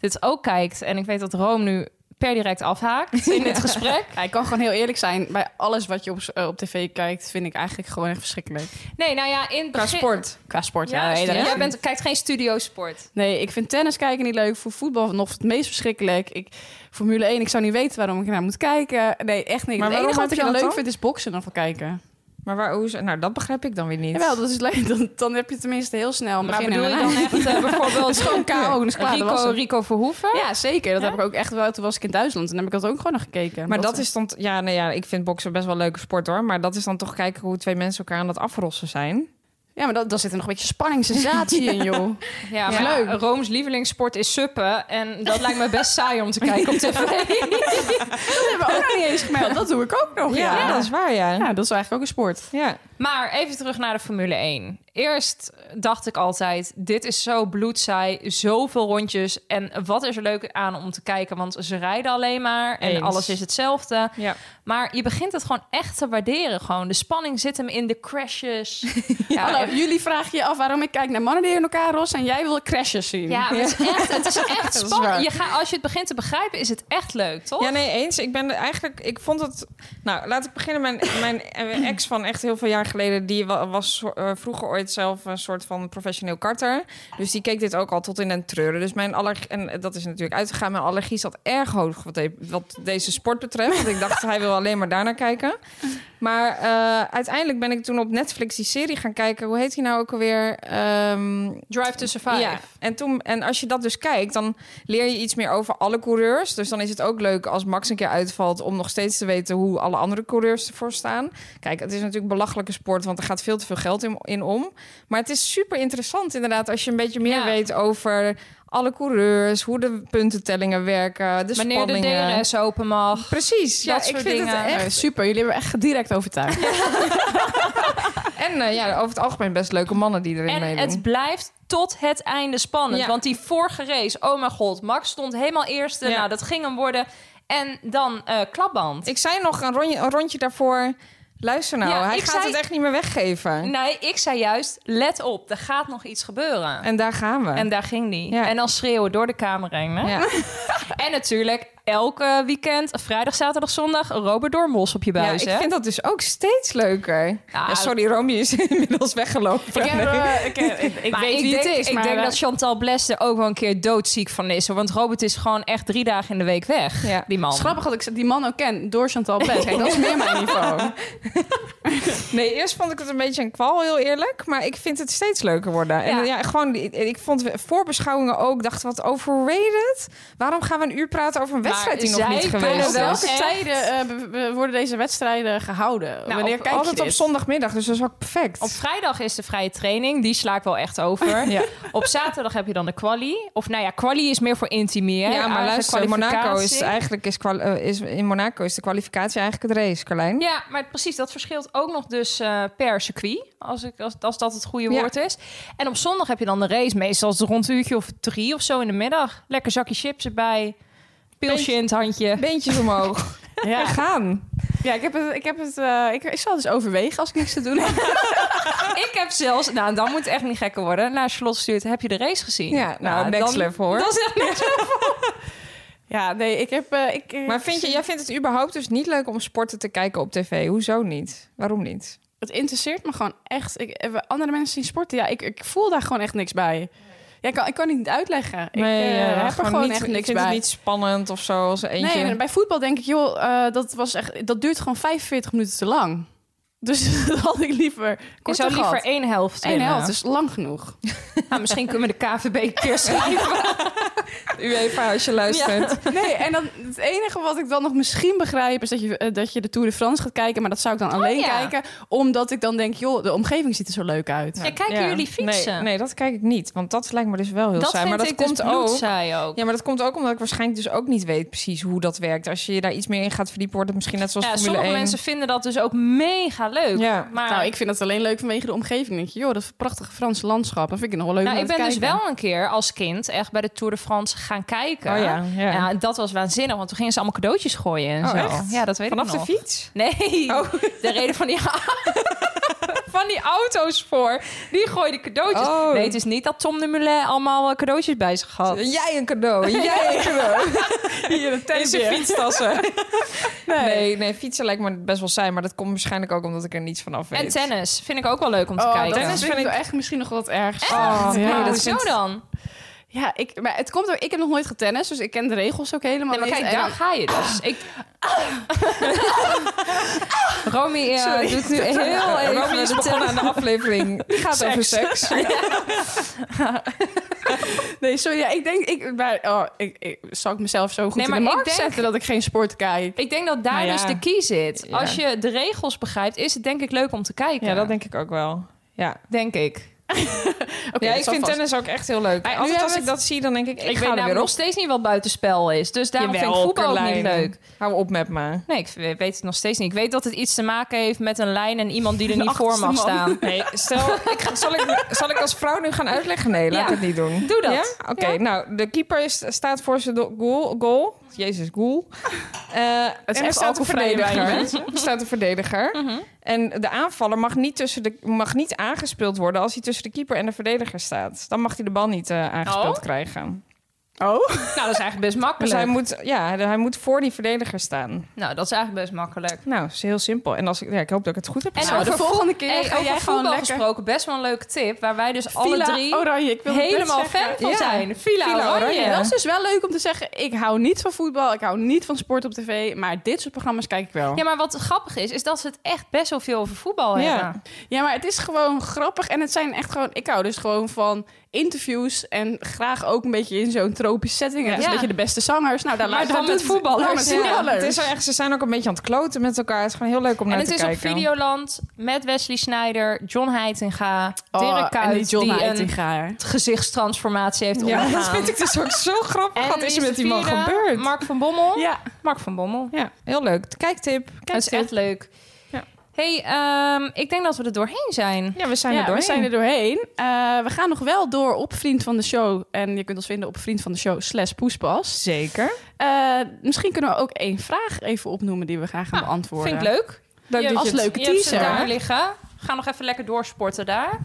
Speaker 1: dit ook kijkt. En ik weet dat Rome nu per direct
Speaker 2: (laughs)
Speaker 1: afhaakt in dit gesprek.
Speaker 2: Ja, ik kan gewoon heel eerlijk zijn. Bij alles wat je op, eh, op tv kijkt, vind ik eigenlijk gewoon echt verschrikkelijk.
Speaker 1: Nee, nou ja, in het
Speaker 3: Qua
Speaker 1: begin-
Speaker 3: sport.
Speaker 2: Qua sport, ja.
Speaker 1: Ja,
Speaker 2: nee, dat-
Speaker 1: jij bent, kijkt geen studio sport.
Speaker 2: Nee, ik vind tennis kijken niet leuk. Voor voetbal nog het meest verschrikkelijk. Ik, Formule 1, ik zou niet weten waarom ik naar moet kijken. Nee, echt niet.
Speaker 3: Maar
Speaker 2: het
Speaker 3: waarom
Speaker 2: enige
Speaker 3: had
Speaker 2: wat ik
Speaker 3: je
Speaker 2: dan
Speaker 3: dat
Speaker 2: leuk
Speaker 3: dan?
Speaker 2: vind is boksen dan van kijken.
Speaker 3: Maar waar, hoe, is- nou, dat begrijp ik dan weer niet.
Speaker 2: Jawel, dat is leuk. (laughs) Dan, dan heb je tenminste heel snel een
Speaker 1: Maar
Speaker 2: begin en
Speaker 1: bedoel je
Speaker 2: een
Speaker 1: dan
Speaker 2: eind.
Speaker 1: echt eh, (laughs) bijvoorbeeld
Speaker 2: Gewoon KO, dus klaar, dat was
Speaker 1: Rico,
Speaker 2: het.
Speaker 1: Rico Verhoeven?
Speaker 2: Ja, zeker. Dat heb ik ook echt wel. Toen was ik in Duitsland en heb ik dat ook gewoon nog gekeken.
Speaker 3: Maar dat is dan... t- Ja, nee, ja, ik vind boksen best wel een leuke sport hoor. Maar dat is dan toch kijken hoe twee mensen elkaar aan het afrossen zijn.
Speaker 2: Ja, maar dat, daar zit er nog een beetje spanning, sensatie in, joh.
Speaker 1: Ja,
Speaker 2: Ja.
Speaker 1: maar Rooms lievelingssport is suppen. En dat lijkt me best saai om te kijken op tv.
Speaker 2: Dat hebben we ook nog niet eens gemeld. Dat doe ik ook nog, ja.
Speaker 3: dat is waar, ja. ja.
Speaker 2: Ja, dat is eigenlijk ook een sport.
Speaker 1: (laughs) Maar even terug naar de Formule 1. Eerst dacht ik altijd, dit is zo bloedzaai, zoveel rondjes. En wat is er leuk aan om te kijken? Want ze rijden alleen maar en
Speaker 3: Eens.
Speaker 1: alles is hetzelfde.
Speaker 3: Ja.
Speaker 1: Maar je begint het gewoon echt te waarderen. Gewoon. De spanning zit hem in de crashes. (laughs) ja,
Speaker 2: Hallo, jullie vragen je af waarom ik kijk naar mannen die in elkaar rossen en jij wil crashes zien.
Speaker 1: Ja, maar het is echt, het
Speaker 3: (laughs)
Speaker 1: is echt
Speaker 3: is
Speaker 1: spannend.
Speaker 3: waar.
Speaker 1: je gaat, als je het begint te begrijpen, is het echt leuk, toch?
Speaker 3: Ja, nee, eens. Ik ben er eigenlijk... Ik vond het... Nou, laat ik beginnen. Mijn, mijn ex van echt heel veel jaar geleden... die wa- was eh, vroeger ooit zelf een soort van professioneel karter. Dus die keek dit ook al tot in den treuren. Dus mijn allergie... En dat is natuurlijk uitgegaan. Mijn allergie zat erg hoog wat, de- wat deze sport betreft. Want ik dacht, hij wil alleen maar daarnaar kijken. Maar eh, uiteindelijk ben ik toen op Netflix die serie gaan kijken. Hoe heet die nou ook alweer? Ehm,
Speaker 1: Drive to Survive.
Speaker 3: ja, en, toen, en als je dat dus kijkt, dan leer je iets meer over alle coureurs. Dus dan is het ook leuk als Max een keer uitvalt... om nog steeds te weten hoe alle andere coureurs ervoor staan. Kijk, het is natuurlijk een belachelijke sport... want er gaat veel te veel geld in, in om. Maar het is super interessant inderdaad... als je een beetje meer
Speaker 1: Ja.
Speaker 3: weet over alle coureurs... hoe de puntentellingen werken, de
Speaker 1: Wanneer
Speaker 3: spanningen.
Speaker 1: de DRS open mag.
Speaker 3: Precies, ja,
Speaker 1: dat
Speaker 3: ik
Speaker 1: soort
Speaker 3: vind
Speaker 1: dingen.
Speaker 3: het echt...
Speaker 2: Eh, super, jullie hebben echt direct overtuigd.
Speaker 3: En eh, ja, over het algemeen best leuke mannen die erin
Speaker 1: En
Speaker 3: meedoen.
Speaker 1: het blijft tot het einde spannend.
Speaker 3: Ja.
Speaker 1: Want die vorige race, oh mijn god, Max stond helemaal eerste.
Speaker 3: Ja.
Speaker 1: Nou, dat ging hem worden. En dan eh, klapband.
Speaker 3: Ik zei nog een rondje, een rondje daarvoor... Luister nou,
Speaker 1: Ja,
Speaker 3: hij
Speaker 1: ik
Speaker 3: gaat
Speaker 1: zei-
Speaker 3: het echt niet meer weggeven.
Speaker 1: Nee, ik zei juist, let op, er gaat nog iets gebeuren. En,
Speaker 3: En daar gaan we.
Speaker 1: daar ging die.
Speaker 3: Ja.
Speaker 1: En dan schreeuwen door de kamer heen. Hè?
Speaker 3: ja.
Speaker 1: (laughs) En natuurlijk, elke weekend, vrijdag, zaterdag, zondag, Robert Doornbos op je
Speaker 3: ja,
Speaker 1: buis.
Speaker 3: ik
Speaker 1: hè?
Speaker 3: vind dat dus ook steeds leuker.
Speaker 1: Ja,
Speaker 3: Ja, sorry, Romy is (laughs) inmiddels weggelopen.
Speaker 2: Ik, heb, eh, ik, heb- ik- ik
Speaker 1: Maar
Speaker 2: weet
Speaker 1: ik
Speaker 2: wie
Speaker 1: denk,
Speaker 2: het is,
Speaker 1: ik
Speaker 2: maar,
Speaker 1: denk
Speaker 2: eh,
Speaker 1: dat Chantal Bles er ook wel een keer doodziek van is. hoor. Want Robert is gewoon echt drie dagen in de week weg,
Speaker 3: Ja.
Speaker 1: die man.
Speaker 2: Het is grappig dat ik die man ook ken door Chantal Best. Kijk, dat is meer mijn niveau.
Speaker 3: Nee, eerst vond ik het een beetje een kwal, heel eerlijk. Maar ik vind het steeds leuker worden.
Speaker 1: Ja.
Speaker 3: En ja, gewoon, ik, ik vond voorbeschouwingen ook, dacht wat overrated. Waarom gaan we een uur praten over een
Speaker 1: Maar
Speaker 3: wedstrijd die nog
Speaker 1: zij
Speaker 3: niet
Speaker 1: kunnen
Speaker 3: geweest
Speaker 2: Op
Speaker 3: is?
Speaker 1: wel-
Speaker 2: welke
Speaker 1: echt?
Speaker 2: tijden eh, be- be- worden deze wedstrijden gehouden? Wanneer
Speaker 1: op-
Speaker 2: kijk je
Speaker 3: Altijd
Speaker 2: dit?
Speaker 3: op zondagmiddag, dus dat is ook perfect.
Speaker 1: Op vrijdag is de vrije training. Die sla ik wel echt over.
Speaker 3: (laughs) Ja.
Speaker 1: Op zaterdag heb je dan de quali. Of nou ja, quali is meer voor intimeren.
Speaker 3: ja, maar
Speaker 1: Eigen
Speaker 3: luister, in Monaco is
Speaker 1: kwalificatie.
Speaker 3: eigenlijk is, kwal- eh, is in Monaco is de kwalificatie eigenlijk het race, Carlijn.
Speaker 1: Ja, maar precies, dat verschilt ook nog dus eh, per circuit. Als, ik, als, als dat het goede
Speaker 3: Ja.
Speaker 1: woord is. En op zondag heb je dan de race. Meestal is het rond een uurtje of drie of zo in de middag. Lekker zakje chips erbij. Pilsje in het handje.
Speaker 3: Beentjes omhoog.
Speaker 2: Ja.
Speaker 3: We gaan.
Speaker 2: Ja, ik heb het, ik heb het, eh, ik, ik zal het dus overwegen als ik niks te doen heb.
Speaker 1: Ik heb zelfs, nou dan moet het echt niet gekker worden. Naar Charlotte stuurt, heb je de race gezien?
Speaker 3: Ja, nou, next
Speaker 1: dan-
Speaker 3: level, hoor.
Speaker 1: Dat is echt next level.
Speaker 2: Ja, nee, ik heb, eh, ik, eh,
Speaker 3: Maar vind je, jij vindt het überhaupt dus niet leuk om sporten te kijken op tv? Hoezo niet? Waarom niet?
Speaker 2: het interesseert me gewoon echt. Ik, eh, andere mensen zien sporten, ja, ik, ik voel daar gewoon echt niks bij. Ja, ik kan, ik kan het niet uitleggen. ik eh, heb er gewoon
Speaker 3: niet,
Speaker 2: echt
Speaker 3: ik
Speaker 2: niks
Speaker 3: vind
Speaker 2: bij.
Speaker 3: het niet spannend of zo als er eentje.
Speaker 2: Nee, en bij voetbal denk ik, joh, eh, dat, was echt, dat duurt gewoon 45 minuten te lang. Dus (laughs) dat had ik liever
Speaker 1: Ik
Speaker 2: korter
Speaker 1: zou liever
Speaker 2: gehad.
Speaker 1: één helft
Speaker 2: Eén
Speaker 1: winnen.
Speaker 2: helft is lang
Speaker 1: (laughs)
Speaker 2: genoeg.
Speaker 1: Nou, misschien kunnen we de KVB een
Speaker 3: (laughs)
Speaker 1: keer schrijven.
Speaker 3: UEFA als je luistert.
Speaker 2: (laughs) Nee, en dan, het enige wat ik dan nog misschien begrijp... is dat je, eh, dat je de Tour de France gaat kijken. Maar dat zou ik dan alleen
Speaker 1: Oh, ja.
Speaker 2: kijken. Omdat ik dan denk, joh, de omgeving ziet er zo leuk uit.
Speaker 1: Ja, kijken jullie fietsen?
Speaker 3: Nee, nee, dat kijk ik niet. Want dat lijkt me dus wel heel
Speaker 1: dat
Speaker 3: saai.
Speaker 1: vind
Speaker 3: Maar dat
Speaker 1: ik
Speaker 3: komt
Speaker 1: dus
Speaker 3: ook.
Speaker 1: bloedsaai ook.
Speaker 3: Ja, maar dat komt ook omdat ik waarschijnlijk dus ook niet weet precies hoe dat werkt. Als je je daar iets meer in gaat verdiepen, wordt het misschien net zoals
Speaker 1: Ja,
Speaker 3: Formule
Speaker 1: sommige
Speaker 3: 1.
Speaker 1: mensen vinden dat dus ook mega leuk.
Speaker 3: Ja.
Speaker 1: Maar
Speaker 2: Nou, ik vind dat alleen leuk vanwege de omgeving. Dan denk je, joh, dat prachtige Franse landschap. Dat vind ik nog wel leuk
Speaker 1: Nou,
Speaker 2: om
Speaker 1: ik ben
Speaker 2: naar te
Speaker 1: dus
Speaker 2: kijken.
Speaker 1: wel een keer als kind echt bij de Tour de France gaan kijken.
Speaker 3: Oh ja, ja.
Speaker 1: en dat was waanzinnig, want toen gingen ze allemaal cadeautjes gooien en
Speaker 3: Oh,
Speaker 1: zo.
Speaker 3: echt?
Speaker 1: Ja, dat weet
Speaker 3: Vanaf
Speaker 1: ik
Speaker 3: de
Speaker 1: nog.
Speaker 3: fiets?
Speaker 1: Nee, de reden (laughs) van die... van staan die auto's voor. Die gooiden cadeautjes.
Speaker 3: Oh.
Speaker 1: Nee, het is niet dat Tom de Mulet allemaal eh, cadeautjes bij zich had.
Speaker 3: Jij een cadeau, (laughs) jij een cadeau.
Speaker 1: (laughs)
Speaker 2: Hier, een
Speaker 1: In zijn eh.
Speaker 2: tentje.
Speaker 1: fietstassen.
Speaker 3: Nee, nee, fietsen lijkt me best wel saai, maar dat komt waarschijnlijk ook omdat ik er niets van af weet.
Speaker 1: En tennis vind ik ook wel leuk om te
Speaker 2: Oh,
Speaker 1: kijken.
Speaker 2: tennis vind ik wel echt misschien nog wat erg.
Speaker 3: Oh, nee,
Speaker 2: Ja.
Speaker 1: Ja,
Speaker 3: dat
Speaker 1: zo
Speaker 3: vindt-
Speaker 1: dan.
Speaker 2: Ja, ik, maar het komt ook. Ik heb nog nooit getennist, dus ik ken de regels ook helemaal
Speaker 1: Nee,
Speaker 2: niet.
Speaker 1: maar kijk,
Speaker 2: En-
Speaker 1: daar ga je dus. Ik... Romy eh, doet
Speaker 3: (laughs)
Speaker 1: nu heel even...
Speaker 3: Romy is
Speaker 1: de
Speaker 3: begonnen aan de
Speaker 1: (laughs)
Speaker 3: aflevering. Die gaat over
Speaker 2: Seks.
Speaker 3: seks.
Speaker 2: Nee, sorry. Ja, ik denk, ik, maar, oh, ik, ik, zal ik mezelf zo goed
Speaker 1: Nee, maar
Speaker 2: in de
Speaker 1: ik
Speaker 2: markt
Speaker 1: denk-
Speaker 2: zetten dat ik geen sport kijk?
Speaker 1: Ik denk dat daar
Speaker 2: Nou ja.
Speaker 1: dus de key zit.
Speaker 3: Ja.
Speaker 1: Als je de regels begrijpt, is het denk ik leuk om te kijken.
Speaker 3: Ja, dat denk ik ook wel. Ja,
Speaker 1: denk ik.
Speaker 2: Oké,
Speaker 3: ja
Speaker 2: dat
Speaker 3: ik
Speaker 2: zal vast.
Speaker 3: vind tennis ook echt heel leuk.
Speaker 1: Maar nu
Speaker 3: Altijd
Speaker 1: hebben
Speaker 3: als
Speaker 1: we
Speaker 3: ik dat zie, dan denk ik, nou ik,
Speaker 1: Ik
Speaker 3: ga
Speaker 1: weet
Speaker 3: er weer
Speaker 1: namelijk
Speaker 3: op.
Speaker 1: nog steeds niet wat buitenspel is. Dus daarom vind ik voetbal ook niet
Speaker 3: Carlijn.
Speaker 1: leuk.
Speaker 3: Hou op met me.
Speaker 1: Nee, ik weet het nog steeds niet. Ik weet dat het iets te maken heeft met een lijn en
Speaker 2: (laughs)
Speaker 1: iemand die er niet voor
Speaker 2: achterste
Speaker 1: mag
Speaker 2: man.
Speaker 1: staan. (laughs)
Speaker 3: Nee, stel, ik, ga- zal, ik, zal ik als vrouw nu gaan uitleggen? Nee, laat
Speaker 1: Ja.
Speaker 3: ik het niet doen.
Speaker 1: Doe dat.
Speaker 3: Ja? Oké, nou, de keeper is, staat voor zijn do- goal. goal. Jezus, goal.
Speaker 2: is
Speaker 3: Eh, en er
Speaker 2: echt
Speaker 3: staat een
Speaker 2: alcoholvrije wijn,
Speaker 3: verdediger. Er staat een verdediger.
Speaker 1: Mhm.
Speaker 3: En de aanvaller mag niet, tussen de, mag niet aangespeeld worden als hij tussen de keeper en de verdediger staat. Dan mag hij de bal niet eh, aangespeeld
Speaker 1: Oh.
Speaker 3: krijgen.
Speaker 2: Oh,
Speaker 1: Nou, dat is eigenlijk best
Speaker 3: Dus hij
Speaker 1: makkelijk.
Speaker 3: moet, ja, hij moet voor die verdediger staan.
Speaker 1: Nou, dat is eigenlijk best makkelijk.
Speaker 3: Nou, is heel simpel. En als ik, ja, ik hoop dat ik het goed heb.
Speaker 1: En
Speaker 3: gezegd.
Speaker 1: over
Speaker 2: de volgende keer
Speaker 1: Hey,
Speaker 2: ga
Speaker 1: over
Speaker 2: jij
Speaker 1: voetbal
Speaker 2: gewoon lekker...
Speaker 1: gesproken, best wel een leuke tip. Waar wij dus alle
Speaker 2: Villa
Speaker 1: drie
Speaker 2: Oranje, ik wil het net
Speaker 1: helemaal
Speaker 2: zeggen.
Speaker 1: fan van
Speaker 3: Ja.
Speaker 1: zijn. Villa,
Speaker 3: Villa
Speaker 1: Oranje.
Speaker 3: Oranje.
Speaker 2: Dat is dus wel leuk om te zeggen. Ik hou niet van voetbal, ik hou niet van sport op tv, maar dit soort programma's kijk ik wel.
Speaker 1: Ja, maar wat grappig is, is dat ze het echt best wel veel over voetbal
Speaker 3: Ja.
Speaker 1: hebben.
Speaker 2: Ja, maar het is gewoon grappig en het zijn echt gewoon... Ik hou dus gewoon van interviews en graag ook een beetje in zo'n tropische setting. Het is
Speaker 1: Ja.
Speaker 2: een beetje de beste zangers. Nou, daar
Speaker 1: Maar
Speaker 2: luister-
Speaker 1: dan
Speaker 2: daar
Speaker 1: met
Speaker 2: doet-
Speaker 1: voetballers.
Speaker 2: dan met
Speaker 1: Ja,
Speaker 2: voetballers.
Speaker 3: het is wel echt, ze zijn ook een beetje aan het kloten met elkaar. Het is gewoon heel leuk om
Speaker 1: En
Speaker 3: naar
Speaker 1: het
Speaker 3: te
Speaker 1: is
Speaker 3: kijken.
Speaker 1: op Videoland met Wesley Snijder, John Heitinga, Dirk
Speaker 2: oh, en die
Speaker 1: Kuyt,
Speaker 2: John
Speaker 1: die een
Speaker 2: Heitinga.
Speaker 1: gezichtstransformatie heeft
Speaker 2: (laughs)
Speaker 3: Ja,
Speaker 1: ondergaan.
Speaker 3: dat vind ik dus ook zo grappig.
Speaker 1: En
Speaker 3: Wat is er
Speaker 1: de
Speaker 3: met die man
Speaker 1: vierde,
Speaker 3: gebeurd?
Speaker 1: Mark van Bommel.
Speaker 2: Ja.
Speaker 1: Mark van Bommel.
Speaker 3: Ja, heel leuk. Kijktip.
Speaker 1: Dat is
Speaker 3: Kijktip.
Speaker 1: echt leuk.
Speaker 3: Ja.
Speaker 1: hey, ehm, ik denk dat we er doorheen zijn.
Speaker 3: Ja, we zijn er
Speaker 2: ja, we
Speaker 3: doorheen.
Speaker 2: zijn er doorheen. Eh, we gaan nog wel door op Vriend van de Show. En je kunt ons vinden op Vriend van de Show slash Poespas.
Speaker 3: Zeker.
Speaker 2: Eh, misschien kunnen we ook één vraag even opnoemen die we graag gaan beantwoorden.
Speaker 1: Vind ik leuk.
Speaker 3: Leuk
Speaker 1: Ja,
Speaker 3: dat
Speaker 2: als
Speaker 3: je het-
Speaker 2: leuke
Speaker 1: Je hebt ze
Speaker 2: teaser.
Speaker 1: daar liggen. Ga nog even lekker doorsporten daar.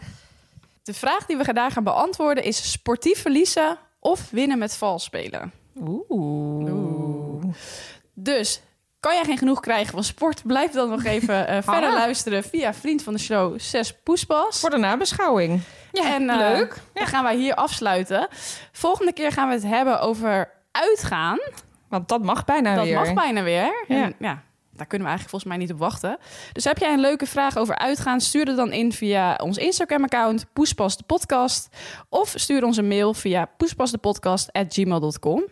Speaker 2: De vraag die we daar gaan beantwoorden is sportief verliezen of winnen met vals spelen.
Speaker 3: Oeh.
Speaker 2: Dus kan jij geen genoeg krijgen van sport? Blijf dan nog even eh, verder luisteren via Vriend van de Show 6 Poespas.
Speaker 3: Voor de nabeschouwing.
Speaker 2: Ja, en, eh,
Speaker 1: leuk.
Speaker 2: Dan gaan wij hier afsluiten. Volgende keer gaan we het hebben over uitgaan.
Speaker 3: Want dat mag bijna
Speaker 2: dat
Speaker 3: weer.
Speaker 2: mag bijna weer.
Speaker 3: Ja.
Speaker 2: En, ja, daar kunnen we eigenlijk volgens mij niet op wachten. Dus heb jij een leuke vraag over uitgaan? Stuur het dan in via ons Instagram-account, Poespas de Podcast. Of stuur ons een mail via poespasdepodcast.gmail.com.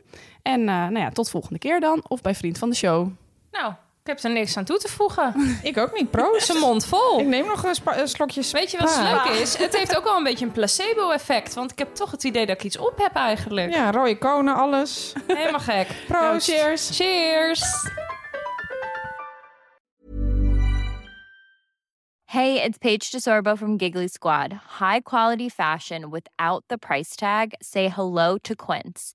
Speaker 2: En eh, nou ja, tot volgende keer dan. Of bij Vriend van de Show.
Speaker 1: Nou, ik heb er niks aan toe te voegen.
Speaker 3: (laughs) Ik ook niet. Proost.
Speaker 1: Zijn mond vol.
Speaker 3: Ik neem nog een, spa- een slokje spa.
Speaker 1: Weet je wat
Speaker 3: Ja.
Speaker 1: het leuk is? Het heeft ook wel een beetje een placebo-effect. Want ik heb toch het idee dat ik iets op heb eigenlijk.
Speaker 3: Ja, rode konen, alles.
Speaker 1: Helemaal gek.
Speaker 3: Proost.
Speaker 2: Nou, cheers.
Speaker 1: Cheers.
Speaker 4: Hey, it's Paige DeSorbo from Giggly Squad. High quality fashion without the price tag. Say hello to Quince.